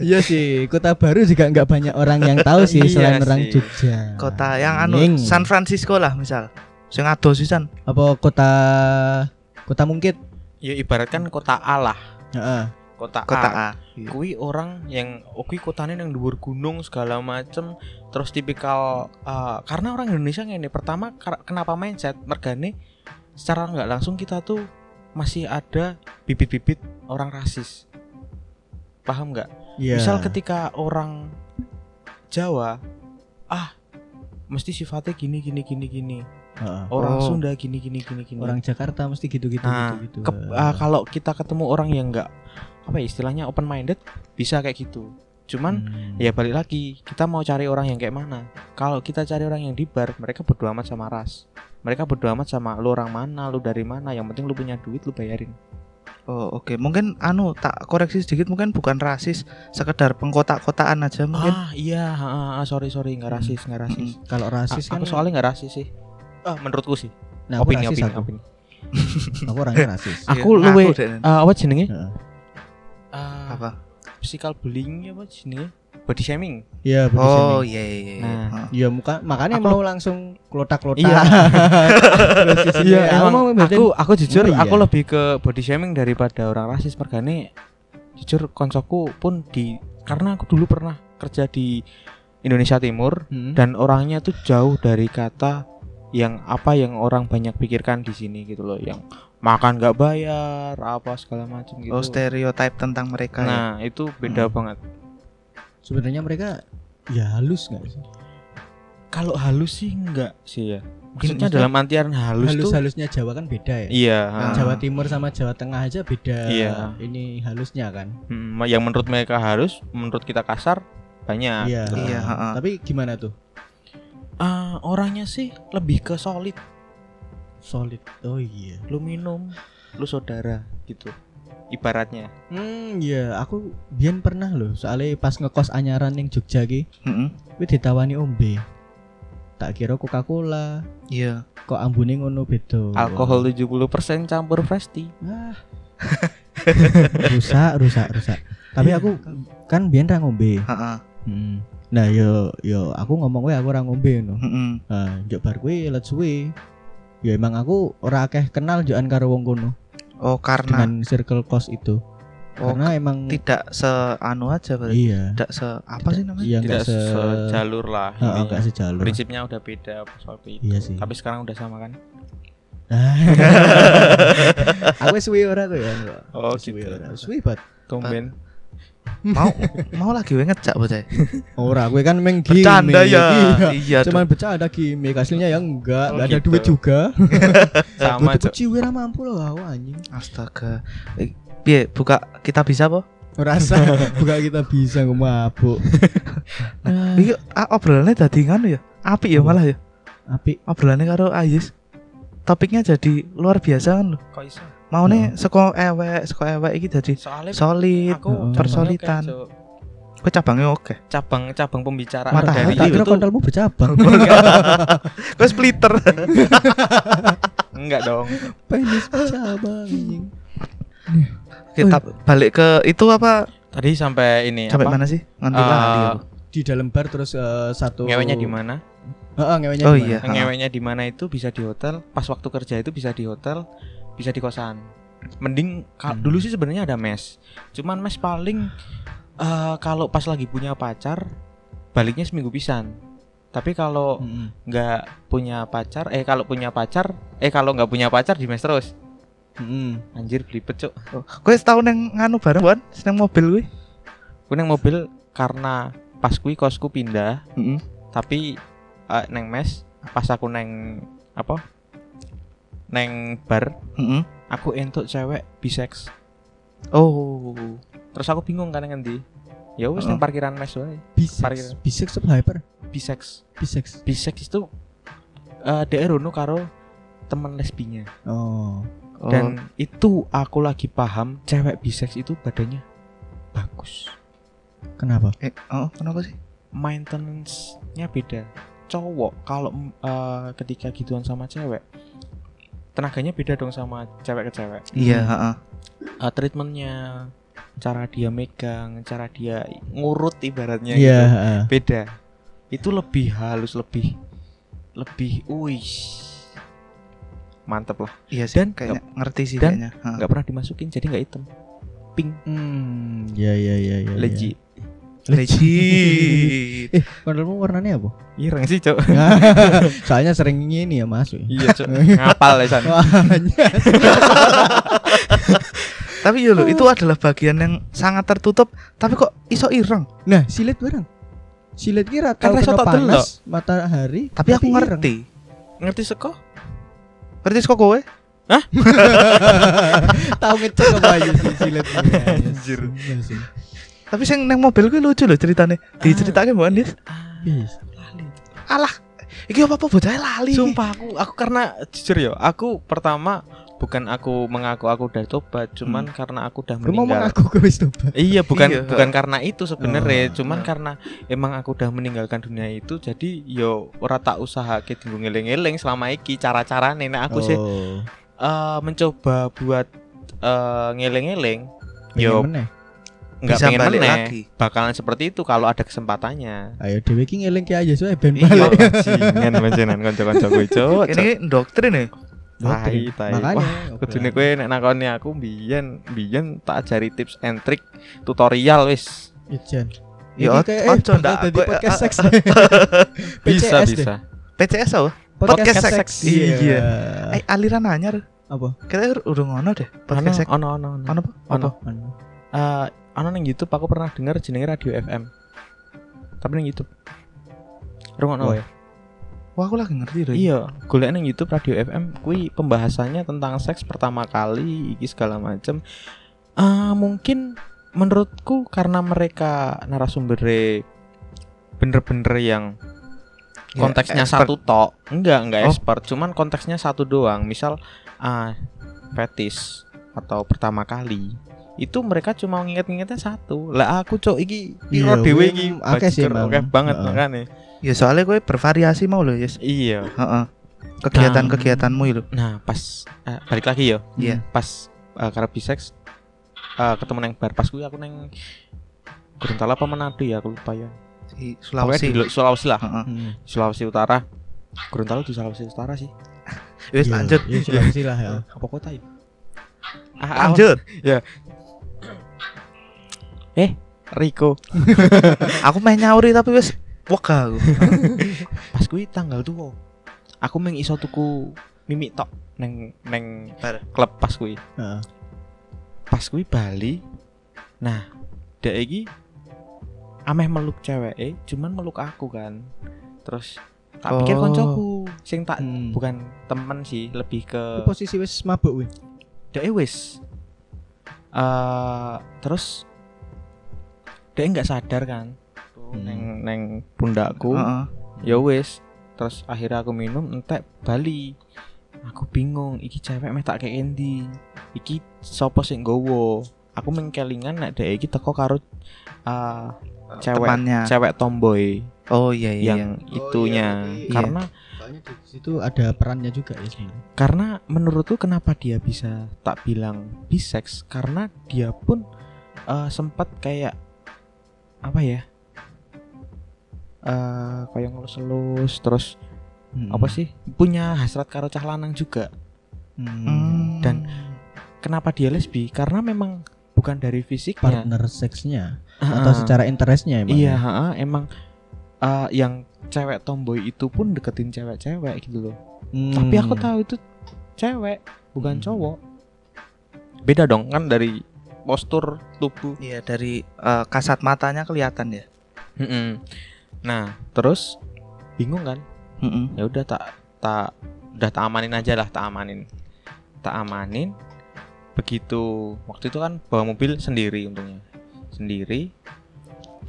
B: iya sih, Kota Baru juga nggak banyak orang yang tahu sih
C: Iya
B: selain
C: sih.
B: orang Jogja.
A: Kota yang anu
B: Ning.
A: San Francisco lah misal. Sing ado sisan.
B: apa kota Kota Mungkit?
C: Ya ibaratkan kota A lah,
B: Heeh.
C: kota,
A: Kota
C: A.
B: Ah.
A: A. Iya.
C: Kui orang yang oh, kui kotanya yang dhuwur gunung segala macem terus tipikal eh, karena orang Indonesia ini pertama kar- kenapa mindset mergane secara nggak langsung kita tuh masih ada bibit-bibit orang rasis. Paham nggak?
B: Iya.
C: Misal ketika orang Jawa ah mesti sifatnya gini gini gini gini.
B: Heeh.
A: Oh.
C: Orang Sunda gini gini gini gini.
B: orang Jakarta mesti gitu-gitu
C: nah,
B: gitu-gitu.
C: ke- ah, kalau kita ketemu orang yang enggak apa ya istilahnya open minded bisa kayak gitu. Cuman
B: Hmm.
C: ya balik lagi, kita mau cari orang yang kayak mana? Kalau kita cari orang yang di bar, mereka berdua amat sama ras. Mereka berdua amat sama lu orang mana, lu dari mana, yang penting lu punya duit lu bayarin.
A: Oh oke, mungkin anu tak koreksi sedikit mungkin bukan rasis, sekedar pengkotak-kotaan aja mungkin.
C: Ah, iya, ah, ah, ah, sorry sorry enggak rasis, enggak rasis.
B: kalau Hmm. rasis
C: Ah,
B: kan
C: aku soalnya enggak rasis sih. Ah, menurutku sih.
B: nah, aku
C: opini,
B: rasis
C: opini,
B: aku.
C: opini.
B: Ah, Aku orangnya rasis.
C: Aku
A: Iya, ngaku
C: luwe
A: deh.
C: eh, apa jenenge?
B: Heeh.
C: Eh,
A: apa?
C: Physical bullying ya, apa jenenge? Body shaming.
B: Iya, body
A: Oh
B: shaming.
A: iya iya iya.
C: Nah.
A: Heeh.
B: Iya, muka makanya
C: Aku-
B: mau langsung klotak-klotak.
C: Iya.
B: Iya,
C: emang aku aku jujur
B: Oh, iya.
C: aku lebih ke body shaming daripada orang rasis pergane jujur koncoku pun di karena aku dulu pernah kerja di Indonesia Timur dan orangnya tuh jauh dari kata yang apa yang orang banyak pikirkan di sini gitu loh yang makan nggak bayar apa segala macam gitu
A: oh stereotype tentang mereka ya.
C: nah itu beda banget
B: Sebenarnya mereka ya halus nggak sih?
C: kalau halus sih enggak sih ya maksudnya
B: maksudnya
C: dalam antian halus,
B: Halus
C: tuh
B: halusnya Jawa kan beda ya.
C: iya
A: Ah.
B: Jawa Timur sama Jawa Tengah aja beda.
C: Iya.
B: Ini halusnya kan.
C: Mm, yang menurut mereka halus menurut kita kasar banyak Gitu.
B: Iya.
A: Iya, ha-ha.
B: Tapi gimana tuh?
C: Ah, orangnya sih lebih ke solid
B: Solid. Oh iya.
C: lu minum lu saudara gitu ibaratnya
B: Hmm, iya, aku biyen pernah loh, soalnya pas ngekos anyaran yang Jogja ki,
A: Mm-mm.
B: kuwi ditawani ombe. Tak kira Coca-Cola,
A: iya
B: kok ambune ngono beda.
C: Iya. alkohol 70% campur fresh tea
B: Ah. rusak, rusak, rusak. Tapi aku kan biyen ra ngombe.
A: Ha-ha.
B: Hmm. Nah, yo yo aku ngomong wae aku ra ngombe no.
A: Mm-mm.
B: Ah, njok bar kuwi let suwe. Ya emang aku ora akeh kenal jokan karo wong kono
A: oh karena
B: dengan circle kos itu.
A: oh,
B: Karena emang
A: tidak seanu aja berarti
B: iya.
A: tidak se apa sih namanya
B: Iya enggak
C: tidak
B: se
C: sejalur lah
B: Heeh,
C: intinya.
B: enggak sejalur.
C: prinsipnya udah beda soal itu
B: Iya sih.
C: tapi sekarang udah sama kan
B: aku suwi ora kok ya.
C: oh
A: gitu.
B: Suwi ora. Suwi bat.
C: tumben
A: mau mau lagi gue ngecak bocah
B: Ora, gue kan main game.
A: bercanda ya
B: Iya.
A: iya
B: Cuman bercanda gimmick hasilnya ya enggak,
C: Oh,
B: enggak ada
C: gitu.
B: duit juga.
A: Eh,
C: sama
B: Duit tuku
C: Cok.
B: ciwi ora mampu loh aku anjing.
A: tuh. astaga Eh, piye buka kita bisa po
B: Merasa bukan kita bisa gue mabuk. Eh.
A: Iki ah, obrolannya tadi nganu ya api ya
B: Apa?
A: malah ya
B: Apik.
A: obrolannya karo Ayis topiknya jadi luar biasa kan lho
C: Kok iso?
A: mau
B: Iya.
A: nih seko ewek seko ewek iki jadi
C: soalnya
A: solid eh,
C: aku
B: Heeh.
A: persolitan.
C: cabangnya kayak, Cok.
A: kok cabangnya oke
C: cabang-cabang pembicaraan
A: Mata
B: Matahari tak
C: dari itu
B: kira
C: tuh
B: kontolmu bercabang.
A: kok splitter
C: enggak dong
B: Penis bercabang anjing.
A: kita balik ke itu apa
C: tadi sampai ini
A: sampai
C: Iya, apa
A: mana sih nganti
C: Eh,
A: lali aku.
B: Di dalam bar terus eh, satu
C: ngeweknya di mana
B: Heeh, ngeweknya
A: oh
B: di mana?
A: iya ha.
C: ngeweknya di mana itu bisa di hotel pas waktu kerja itu bisa di hotel bisa di kosan mending ka-
B: Hmm.
C: dulu sih sebenarnya ada mes cuman mes paling eh, kalau pas lagi punya pacar baliknya seminggu pisan tapi kalau
B: Mm-mm.
C: nggak punya pacar eh kalau punya pacar eh kalau nggak punya pacar di mes terus
B: Mm-mm.
C: anjir belibet cuk
A: Kowe setahun yang nganu bareng kan, seneng mobil gue.
C: Kuwi neng mobil karena pas kui kosku pindah
A: Heeh.
C: tapi eh, neng mes pas aku neng apa neng bar
A: Heeh.
C: aku entuk cewek bisex
A: Oh.
C: terus aku bingung kan ngendi ya wis
A: Heeh.
C: nang parkiran mes wae Parkir.
B: Bisex. Bisex apa hyper?
C: bisex
B: Bisex.
C: bisex itu eh dia rono karo temen lesbinya
B: Oh.
A: Dan
C: dan itu aku lagi paham cewek bisex itu badannya bagus
B: Kenapa?
A: eh, oh, kenapa sih?
C: maintenance-nya beda cowok kalau mm, eh, ketika gituan sama cewek tenaganya beda dong sama cewek ke cewek
A: Iya, heeh.
C: Eh, treatmentnya cara dia megang cara dia ngurut
B: Iya,
C: ibaratnya gitu.
B: heeh.
C: beda itu lebih halus lebih lebih uish mantep lah
A: Iya sih,
C: Dan-
A: kayaknya ngerti sih
C: dan-
A: kayaknya. Ha.
C: nggak pernah dimasukin jadi nggak hitam pink
B: Hmm, iya iya iya iya.
C: legit
A: Legit.
B: Eh, kondolmu warnanya apa?
C: ireng sih cok
B: Soalnya sering ini ya masuk. ya.
C: iya cok ngapal ya san
B: Wah, anjay.
A: tapi yo lho,
C: Oh.
A: itu adalah bagian yang sangat tertutup, tapi kok iso ireng.
B: nah, silet barang. Silet kira
C: Kan
B: tahu
C: rasa
B: kena
C: tak delok.
B: panas matahari.
A: Tapi, aku ngerti.
C: ngerti seko
A: Ngerti kok kowe?
B: ireng. tahu ngecek apa aja sih silet. Anjir.
A: Tapi sing neng mobil gue lucu loh ceritane.
C: Ah.
A: Diceritake Mbak Andis.
C: Iya.
B: Yes.
C: lali
A: Alah, iki apa-apa bocah lali.
C: sumpah aku aku karena jujur ya aku pertama bukan aku mengaku aku udah tobat cuman
B: Hmm.
C: karena aku udah
B: Lu mau
C: meninggal
B: mengaku gue wis tobat.
C: Iya, bukan
A: Iya.
C: bukan karena itu sebenarnya,
B: Oh.
C: cuman karena emang aku udah meninggalkan dunia itu, jadi yo ora tak usaha ke ngeleng-ngeleng selama iki cara-cara nenek aku sih
B: Oh.
C: eh, mencoba buat eh, ngeleng-ngeleng, yo
B: Pengen meneh.
C: nggak
A: Bisa
C: pengen
A: balik
C: meneh.
A: lagi.
C: Bakalan seperti itu kalau ada kesempatannya.
B: Ayo dhewe ki ngeling ki aja soe ben
A: Iya.
B: balik.
C: Bajingan bajingan kanca-kanca gue, Cok.
A: Ini doktrin ya?
C: Tai, tai.
B: Makanya. ya?
C: Kudune kowe nek nakoni aku mbiyen mbiyen tak ajari tips and trick tutorial wis.
B: Ijen.
A: Ya,
B: Ini
A: ot- ojo
B: eh, bakal
A: ndak,
B: dadi
A: gue-
B: podcast
A: a-
B: seks.
C: Bisa
B: PCS deh.
C: bisa.
A: PCS apa?
B: Podcast,
A: Podcast
B: seks. iya.
A: seks. Iya. Eh, aliran anyar.
B: Apa?
A: Kita ur- udah ngono deh.
C: Ono
A: Podcast sek.
C: ono ono. ono.
A: Ono apa?
C: Ono.
A: Apa?
C: Eh, ono nang YouTube aku pernah dengar jenenge Radio FM. Tapi nang YouTube. Rungokno
B: Wah.
C: wae.
A: Wah, aku lagi ngerti deh.
C: Iya, golek nang YouTube Radio FM kui pembahasannya tentang seks pertama kali iki segala macem. Ah, mungkin menurutku karena mereka narasumbernya bener-bener yang
A: Ya,
C: konteksnya
A: expert.
C: satu tok. Enggak,
A: Oh.
C: enggak expert, cuman konteksnya satu doang. Misal ah fetis atau pertama kali itu mereka cuma nginget-ngingetnya satu lah aku cok iki piro
B: Iya,
C: dewe
B: kuwi
C: iki
B: akeh sih,
C: bajigur,
B: Bang.
C: akeh banget
B: Heeh.
C: makane
A: Ya soalnya gue bervariasi mau loh, Yes.
C: iya
A: Heeh. Kegiatan-kegiatanmu itu.
C: Nah, pas eh, balik lagi yo.
A: Iya.
C: Pas eh, karena bisex eh, ketemu neng bar pas kuwi aku neng Gorontalo apa Manado ya aku lupa ya.
A: Di
C: Pokoknya di
A: Sulawesi.
C: Lu- Sulawesi lah.
A: Heeh.
C: Sulawesi Utara. Gorontalo di Sulawesi Utara sih.
A: Wis
B: Iya.
C: Iya,
A: lanjut.
B: lah ya.
C: Apa kota ya? Ah, ah,
A: Lanjut.
C: Riko.
A: Aku main nyauri tapi wis wega aku.
C: Pas kuwi tanggal tuh aku meng iso tuku mimik tok neng neng
A: Bar.
C: klub pas kuwi.
B: Heeh.
C: Pas kuwi Bali. Nah, dek iki ameh meluk ceweke, cuman meluk aku kan. Terus tak pikir
A: Oh.
C: koncoku sing tak
B: Hmm.
C: bukan temen sih, lebih
B: Kuwi
C: ke
B: posisi wis mabuk weh.
C: dek e wis. Eh, terus dek nggak sadar kan. Tuh,
B: Hmm.
C: Neng neng pundakku.
A: Heeh.
C: Ya wis. Terus akhirnya aku minum entek Bali. Aku bingung, iki cewek meh tak kayak endi. Iki sapa sing nggawa? Aku mengkelingan nek dek iki teko karo eh, Cewek.
A: Temannya.
C: cewek tomboy
A: Oh iya iya. iya.
C: yang itunya
B: berarti-
A: Iya.
C: karena
B: Soalnya di situ ada perannya juga ya sebenarnya.
C: karena menurutku kenapa dia bisa tak bilang bisex karena dia pun eh, sempat kayak apa ya eh kayak ngelus-elus terus
B: Hmm.
C: apa sih punya hasrat karo cah lanang juga
A: Hmm.
C: Dan- kenapa dia lesbi karena memang bukan dari
B: Iya,
C: fisiknya
B: partner seksnya
C: Ah,
B: atau
C: ah.
B: secara interestnya emang. ya.
C: iya ah, ah, emang eh, yang cewek tomboy itu pun deketin cewek-cewek gitu loh
B: Hmm.
C: tapi aku tahu itu cewek bukan
B: Hmm.
C: cowok beda dong kan dari postur tubuh
A: Iya dari eh, kasat matanya kelihatan ya.
B: Hmm.
C: nah terus bingung kan
B: Hmm.
A: Heeh.
C: ya udah tak tak udah tak amanin aja lah tak amanin tak amanin begitu waktu itu kan bawa mobil sendiri untungnya sendiri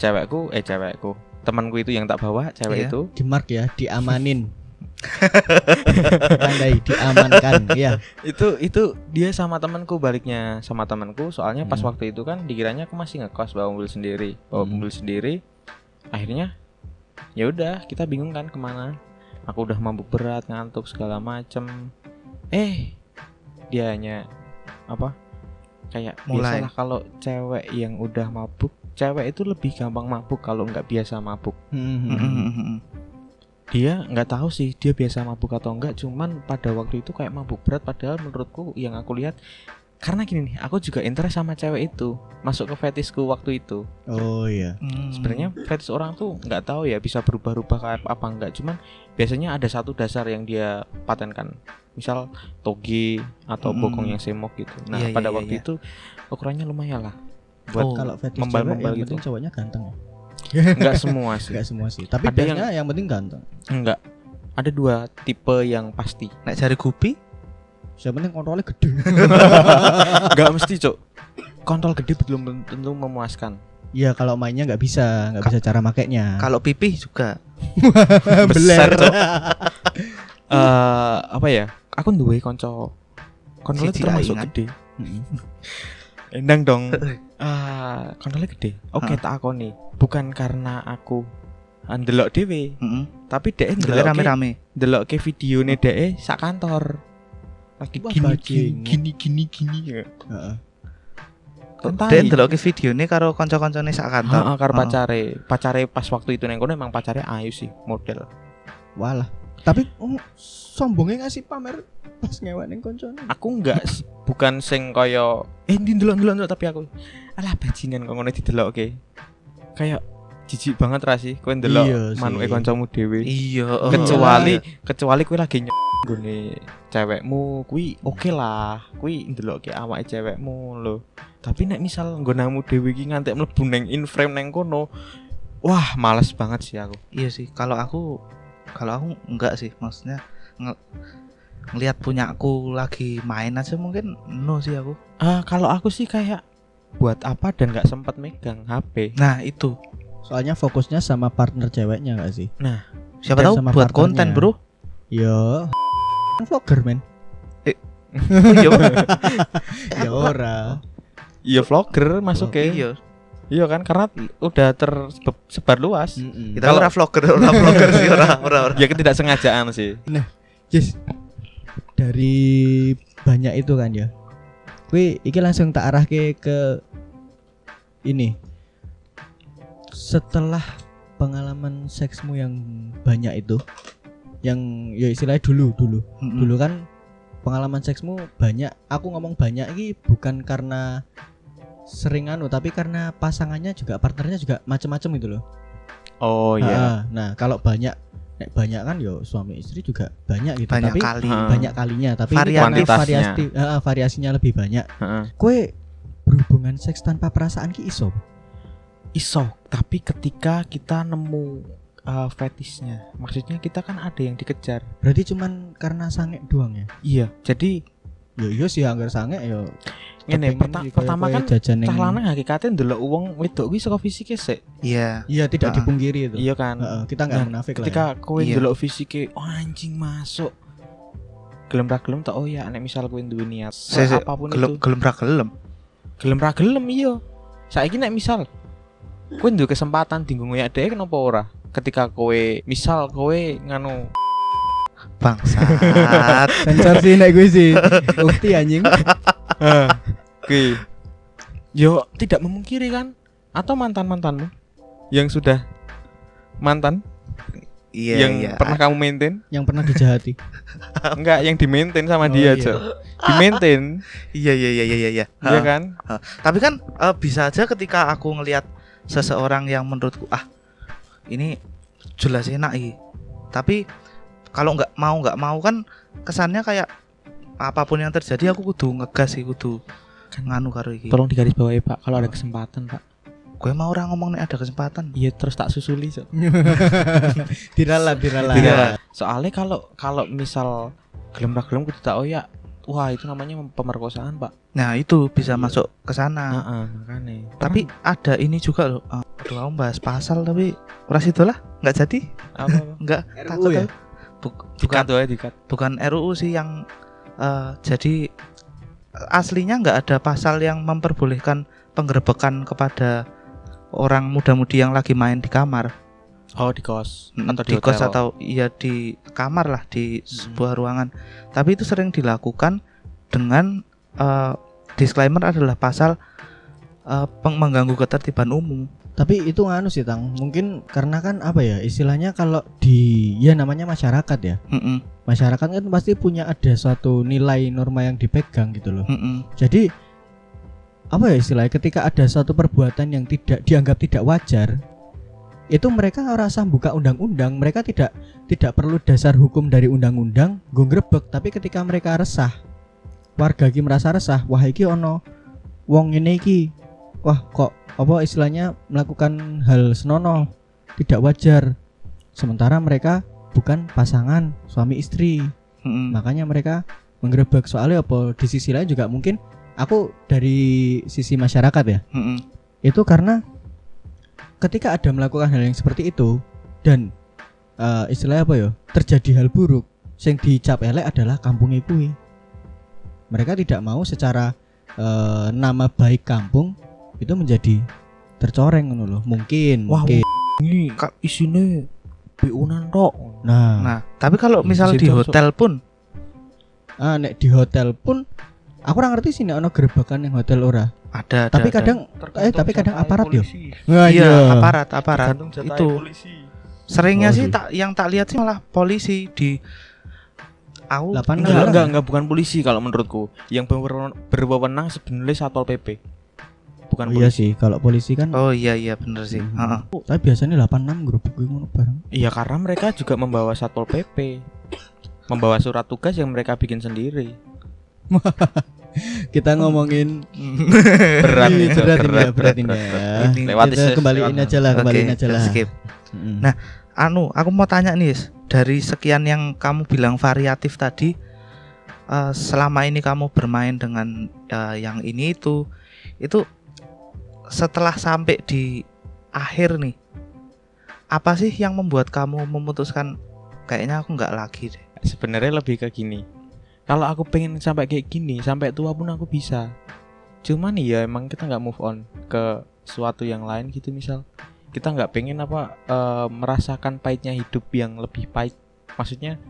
C: cewekku eh cewekku temanku itu yang tak bawa cewek
A: Iya.
C: itu
B: di mark ya, diamanin. Tandai diamankan ya.
C: itu itu dia sama temanku baliknya sama temanku soalnya pas
B: Hmm.
C: waktu itu kan dikiranya aku masih ngekos bawa mobil sendiri bawa
B: Hmm.
C: mobil sendiri akhirnya ya udah kita bingung kan kemana aku udah mabuk berat ngantuk segala macem eh dianya apa kayak
A: Mulai.
C: biasalah kalau cewek yang udah mabuk cewek itu lebih gampang mabuk kalau nggak biasa mabuk Mm-hmm.
B: Hmm.
A: Mm-hmm.
C: dia Iya, nggak tahu sih dia biasa mabuk atau enggak cuman pada waktu itu kayak mabuk berat padahal menurutku yang aku lihat karena gini nih aku juga interest sama cewek itu masuk ke fetisku waktu itu
B: Oh iya.
A: Mm-hmm. Hmm.
C: sebenarnya fetis orang tuh nggak tahu ya bisa berubah-ubah kayak apa enggak cuman biasanya ada satu dasar yang dia patenkan misal toge atau
A: Mm.
C: bokong yang semok gitu nah
A: Iya, iya,
C: pada
A: iya,
C: waktu
A: iya. Oh.
C: itu ukurannya lumayan lah
A: buat
B: Oh, Kalau fetish cewek,
C: membal-membal
B: yang
C: gitu.
B: penting cowoknya ganteng ya.
C: nggak semua sih
B: Enggak semua sih, tapi
C: Ada
B: biasanya yang... penting ganteng.
C: enggak ada dua tipe yang pasti
A: nek jari gupi
B: Yang penting kontrolnya gede.
C: Gak mesti cok Kontol gede belum tentu memuaskan
B: Iya, kalau mainnya nggak bisa, nggak
A: Ka-
B: bisa cara makainya.
A: kalau pipih juga
B: Beler.
C: besar, Cok. Eh, Apa ya Aku duwe konco Kontolnya
A: CGI
C: termasuk
A: kan?
C: gede
B: Mm-mm.
C: Endang dong Eh, Kontolnya gede Oke
A: Heeh.
C: tak aku nih Bukan karena aku eh, Ndelok dewe
A: Heeh.
C: Tapi
A: Delok
C: dek ndelok ke,
A: Mm-hmm. rame-rame
C: ndelok ke video nih dek Sak kantor Lagi
B: Wah,
C: gini gini,
B: bajingan.
C: gini gini gini
B: Heeh.
C: Entai.
A: dan delok videone karo kanca-kancane sak kantor
C: iya.
A: Oh,
C: Heeh, karo
A: Heeh.
C: pacare. Pacare pas waktu itu neng kono emang pacare ayu sih model.
B: Walah. Tapi oh, sombongnya ngasih pamer pas ngewek ning koncone.
C: aku nggak s- bukan sing kaya eh ndi ndelok ndelok ndelok," tapi aku alah bajingan kok ngono didelokke. Kayak di jijik banget ra sih kowe ndelok
B: Iya sih.
C: manuke kancamu dhewe.
A: iya
C: Oh, kecuali kecuali kuwi lagi ny gone cewekmu kuwi oke lah kuwi ndelokke awake cewekmu lho tapi nek misal nggonamu dhewe iki nganti mlebu neng in frame neng kono wah males banget sih aku
A: iya sih kalau aku kalau aku enggak sih maksudnya nge- ngelihat punyaku lagi main aja mungkin no sih aku
C: ah kalau aku sih kayak buat apa dan nggak sempat megang HP
A: nah itu
B: Soalnya fokusnya sama partner ceweknya gak sih?
A: siapa
B: Dan
A: tahu
B: sama
A: buat
B: partnernya.
A: konten bro
B: Yo. Vlogger men.
A: iya
C: Eh,
B: Ya ora.
C: iya vlogger
A: oke
C: masuk ke
A: iya
C: iya kan karena udah tersebar luas
A: kita
C: Kalau-
A: ora vlogger ora vlogger sih ora ora ora
C: ya ketidaksengajaan sih
B: Yes. Dari banyak itu kan ya. Kuwi iki langsung tak arahke ke ini. Setelah pengalaman seksmu yang banyak itu yang ya istilahnya dulu dulu
C: Hmm.
A: Mm-mm.
B: dulu kan pengalaman seksmu banyak aku ngomong banyak ini bukan karena sering anu tapi karena pasangannya juga partnernya juga macem-macem gitu loh
C: oh iya
B: Ah, nah kalau banyak nek banyak kan yo suami istri juga banyak gitu
A: banyak
B: tapi
A: kali
C: Ha.
B: banyak kalinya tapi ini karena
C: Variantitasnya.
B: variasi ah, variasinya lebih banyak
C: Heeh.
B: kue berhubungan seks tanpa perasaan ki iso
C: iso tapi ketika kita nemu uh, fetishnya maksudnya kita kan ada yang dikejar
B: berarti cuman karena sange doang ya
C: iya jadi
B: yo yo Ya iya sih anggar sange yo kepengen
C: ngene perta-
B: sih
C: pertama
B: kaya-kaya
C: kan
B: jajan
C: cah
B: yang-
C: lanang hakikate ndelok wong wedok kuwi saka fisiknya sik
A: iya
B: iya tidak
A: Ah.
B: dipungkiri itu
C: iya kan
B: Heeh, kita nggak
C: Nah,
B: munafik lah ya.
C: ketika kowe
A: Iya.
C: ndelok fisiknya oh, anjing masuk gelem ra gelem tak oh ya nek misal kowe duwe niat
A: Se- se-
C: apapun
A: gelem
C: itu
A: gelem ra gelem
C: gelem ra gelem iya saiki nek misal kowe duwe kesempatan dinggo ngoyak dhek kenapa ora ketika kowe misal kowe nganu
A: bangsat
B: Sensor sih naik gue sih. Ukti anjing.
C: Oke. Yo tidak memungkiri kan? Atau mantan mantanmu yang sudah mantan
A: iya
C: yang
A: iya
C: pernah kamu maintain?
B: Yang pernah dijahati.
C: Enggak, yang di maintain sama
B: Oh, iya.
C: dia aja. Di maintain,
A: iya iya iya iya iya
C: ya
A: Ha.
C: kan?
A: tapi kan eh, bisa aja ketika aku ngelihat seseorang yang menurutku ah ini jelas enak ih tapi kalau nggak mau nggak mau kan kesannya kayak apapun yang terjadi aku kudu ngegas sih kudu
B: Kan
A: nganu karo iki
C: Tolong digaris bawahi Pak, kalau ada kesempatan Pak.
A: gue mau orang ngomong nek ada kesempatan
C: Iya terus tak susuli. So.
B: diralat, diralat.
A: Iya.
C: Tidak. Soalnya kalau kalau misal gelem ra gelem kudu tak oyak. Wah itu namanya pemerkosaan Pak.
A: nah itu bisa
B: Iya. Nah, kan-
A: masuk ke sana
C: Heeh, makanya.
A: tapi ada ini juga loh eh, aduh aku bahas pasal tapi ora situ lah nggak jadi
C: apa? apa?
A: nggak
B: RUU
A: takut
B: ya?
A: aku. Buk- bukan
C: Dikat wae dikat.
A: bukan RUU sih yang eh, jadi aslinya nggak ada pasal yang memperbolehkan penggerbekan kepada orang muda-mudi yang lagi main di kamar
C: Oh di kos
A: Mm,
B: Hmm,
C: atau
A: di, kos
C: hotel.
A: atau ya di kamar lah di sebuah ruangan tapi itu sering dilakukan dengan eh, disclaimer adalah pasal eh, peng- mengganggu ketertiban umum
B: Tapi itu nganu sih Tang. Mungkin karena kan apa ya? Istilahnya kalau di ya namanya masyarakat ya.
A: Mm-mm,
B: Masyarakat kan pasti punya ada suatu nilai norma yang dipegang gitu loh.
A: mm-mm.
B: Jadi apa ya istilahnya ketika ada suatu perbuatan yang tidak dianggap tidak wajar itu mereka rasa buka undang-undang mereka tidak tidak perlu dasar hukum dari undang-undang gue grebek tapi ketika mereka resah warga ki merasa resah wah iki ono wong ini iki wah kok apa istilahnya melakukan hal senono tidak wajar sementara mereka bukan pasangan suami istri
A: Mm-mm.
B: makanya mereka menggerebek soalnya apa di sisi lain juga mungkin aku dari sisi masyarakat ya
A: Mm-mm.
B: itu karena ketika ada melakukan hal yang seperti itu dan eh, istilahnya apa ya terjadi hal buruk yang dicap elek adalah kampung kui mereka tidak mau secara eh, nama baik kampung itu menjadi tercoreng ngono loh mungkin
C: Wah,
B: mungkin
C: ini kak isine biunan tok
B: nah,
A: nah tapi kalau misal di
C: Situ-
A: hotel pun
B: ah, nek di hotel pun aku kurang ngerti sih nek ono gerebakan yang hotel ora
A: ada
B: tapi
A: ada, ada.
B: kadang eh tapi kadang aparat yo
A: iya aparat aparat itu seringnya
B: Oh,
A: sih
B: sih.
A: tak yang tak lihat sih malah polisi di aku enggak,
B: Lapan
C: Enggak,
B: Enggak,
C: enggak,
B: enggak,
C: enggak bukan polisi kalau menurutku. Yang berwenang, berwenang sebenarnya Satpol PP. bukan
B: iya
C: polisi.
B: sih kalau polisi kan
A: Oh iya iya bener sih.
B: Mhm.
A: Heeh.
B: tapi biasanya 86 grup gue ngono bareng
C: Iya karena mereka juga membawa satpol pp, membawa surat tugas yang mereka bikin sendiri.
B: kita ngomongin
C: Berat
B: Ih, berat ini
C: ini,
B: ya,
C: berat,
B: berat
C: berat,
B: ini
C: berat, berat.
B: ya.
A: Ini
C: lewat
B: Kita
C: sis,
B: kembaliin
C: lewat.
B: aja lah, Nah, kembaliin
A: Oke,
B: aja lah.
A: skip.
B: Mm.
A: Nah, Anu, aku mau tanya nih, Is. dari sekian yang kamu bilang variatif tadi, eh, selama ini kamu bermain dengan eh, yang ini itu, itu setelah sampai di akhir nih, apa sih yang membuat kamu memutuskan kayaknya aku nggak lagi deh?
C: Sebenarnya lebih ke gini. Kalau aku pengen sampai kayak gini, sampai tua pun aku bisa. Cuman ya emang kita nggak move on ke suatu yang lain gitu misal. Kita nggak pengen apa eh, merasakan pahitnya hidup yang lebih pahit. Maksudnya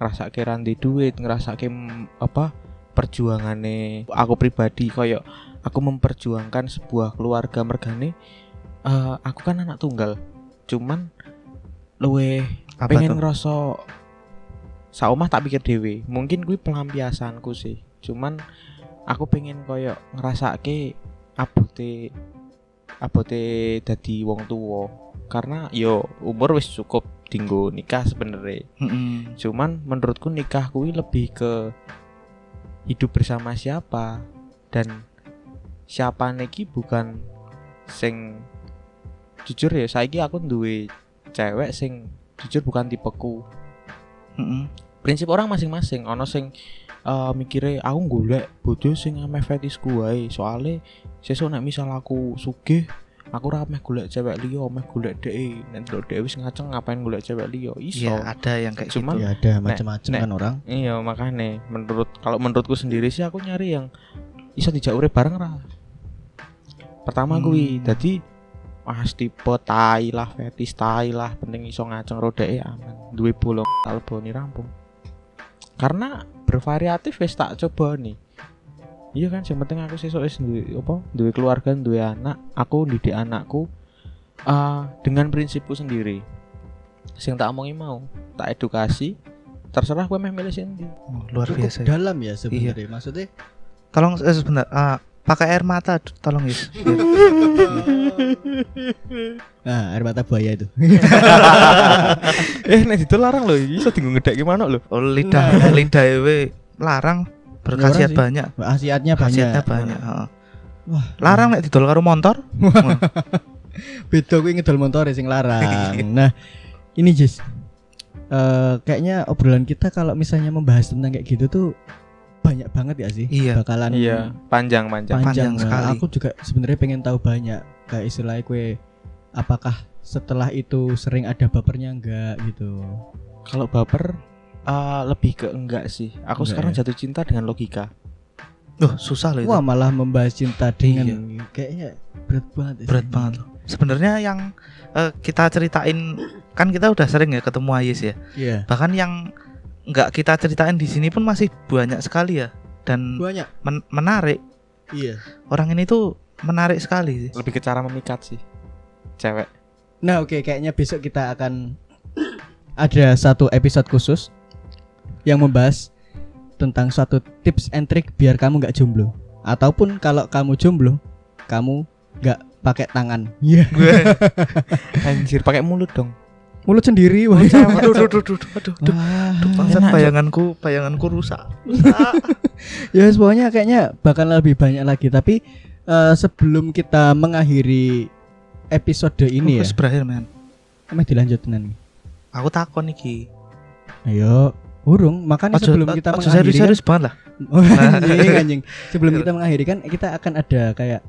C: ngerasa ke rantai duit, ngerasa ke apa perjuangannya aku pribadi koyo aku memperjuangkan sebuah keluarga mergane eh, aku kan anak tunggal cuman luwe
A: Apa tuh?
C: pengen ngerasa saumah tak pikir dewe mungkin gue pelampiasanku sih cuman aku pengen koyo ngerasa ke abote abote dadi wong tua karena yo umur wis cukup dinggo nikah sebenernya
A: Mm-mm.
C: cuman menurutku nikah kuwi lebih ke hidup bersama siapa dan siapa niki bukan sing jujur ya saiki aku duwe cewek sing jujur bukan tipeku
A: Mm-mm.
C: prinsip orang masing-masing ono sing eh, mikire aku golek bojo sing ameh fetisku wae soale sesuk nek misal aku sugih aku ora ameh golek cewek liya ameh golek dhek nek ndelok dhek wis ngaceng ngapain golek cewek liya iso
A: Iya, ada yang kayak
C: Cuman-
A: gitu.
B: Ya ada macam-macam
C: nek.
B: kan orang.
C: Iya makanya menurut kalau menurutku sendiri sih aku nyari yang bisa dijak urip bareng ra. Pertama
A: Hmm.
C: gue jadi pasti tipe tai lah fetis tai lah penting iso ngaceng rodeke aman duwe bolong talboni rampung. Karena bervariatif wis tak coba nih. Iya kan yang penting aku sesuk wis duwe apa duwe keluarga duwe anak, aku didik anakku eh, dengan prinsipku sendiri. Sing tak omongi mau, tak edukasi, terserah gue meh milih sendiri.
A: Oh, luar
B: Cukup
A: biasa. ya.
B: dalam ya sebenarnya. Maksudnya
A: Tolong eh, sebentar, eh, pakai air mata, tolong Iya. Is. Biar-
B: nah, air mata buaya itu.
C: eh nek itu larang loh iso tinggu ngedek gimana loh
A: Oh, lidah lidah ewe larang berkhasiat
B: Larang Nah. sih.
A: banyak
B: Khasiatnya
A: khasiatnya
B: banyak.
A: banyak heeh.
B: Wah.
A: larang nek didol karo motor
B: Beda kuwi ngedol motor sing larang. nah, ini Jis. Eh, kayaknya obrolan kita kalau misalnya membahas tentang kayak gitu tuh banyak banget ya sih
A: Iya.
B: bakalan
C: iya panjang panjang
A: Panjang
B: panjang, Nah,
A: sekali.
B: Aku juga sebenarnya pengen tahu banyak kayak istilahnya kue apakah setelah itu sering ada bapernya enggak gitu.
C: kalau baper eh, lebih ke enggak sih
B: Enggak
C: aku sekarang
B: ya.
C: jatuh cinta dengan logika
A: loh susah loh itu Iya.
B: Wah, malah membahas cinta dengan
C: Iya.
B: kayaknya berat banget. ya
A: berat
B: sih.
A: banget loh sebenarnya yang eh, kita ceritain kan kita udah sering ya ketemu Ayes ya
B: Iya.
A: bahkan yang nggak kita ceritain di sini pun masih banyak sekali ya dan
B: Banyak.
A: men- menarik
B: Iya.
A: orang ini tuh menarik sekali sih.
C: lebih ke cara memikat sih cewek
B: Nah, oke kayaknya besok kita akan ada satu episode khusus yang membahas tentang suatu tips and trick biar kamu nggak jomblo ataupun kalau kamu jomblo kamu nggak pakai tangan. Iya.
C: anjir pakai mulut dong
B: Mulut sendiri. Wah.
A: aduh, aduh, aduh, aduh, aduh, aduh,
B: Wah.
A: aduh, bangsat,
C: enak, Cok.
A: bayanganku, bayanganku rusak. rusak.
B: Ya yes, pokoknya kayaknya bakal lebih banyak lagi tapi eh, sebelum kita mengakhiri episode ini ya,
A: Fokus berakhir men.
B: emang dilanjut tenan.
A: Aku takon iki.
B: Ayo, urung. Makanya
A: Ojo-
B: sebelum
A: ojo
B: kita mengakhiri kan-
A: serius-serius banget lah.
B: Oh, anjing, anjing. Sebelum kita mengakhiri kan kita akan ada kayak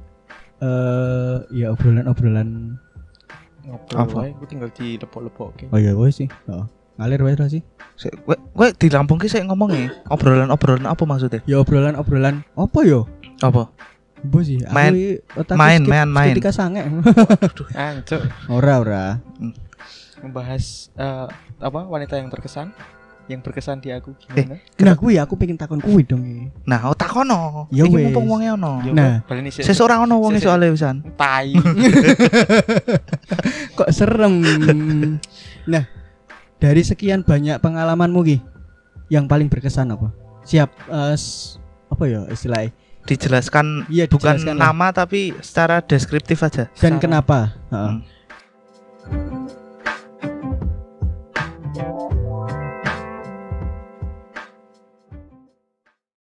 B: eh ya obrolan-obrolan.
C: ngobrol
A: Apa?
C: wae, gue tinggal di lepok-lepok oke
B: Oh iya, wes sih. Oh, ngalir wes lah sih.
A: Sik, Kowe kowe di Lampung ki sik ngomong ya, obrolan-obrolan apa maksudnya?
B: Ya obrolan-obrolan apa yo?
A: Apa?
B: Bu sih, aku
A: Main-
B: i- otakku
A: main,
B: skip-
A: main, main.
B: Ketika sange.
C: anjir
B: ora ora.
C: membahas eh, apa wanita yang terkesan yang berkesan di aku gimana
B: Nah, kuwi aku pengen takon kuwi dong. i.
A: Nah, oh takono.
B: Ya
A: Iki
B: wes.
A: mumpung wonge ono.
C: Ya,
B: Nah.
C: balik nih sih
A: Sesuk ora ono wonge
C: Sik, sik.
A: soalnya wisan.
C: tai
B: Kok serem. nah, dari sekian banyak pengalamanmu Ki, yang paling berkesan apa? Siap eh, s- apa ya istilahnya?
A: dijelaskan
B: Iya,
A: bukan
B: dijelaskan lah.
A: nama tapi secara deskriptif aja
B: dan
C: Secara-
B: kenapa? Heeh.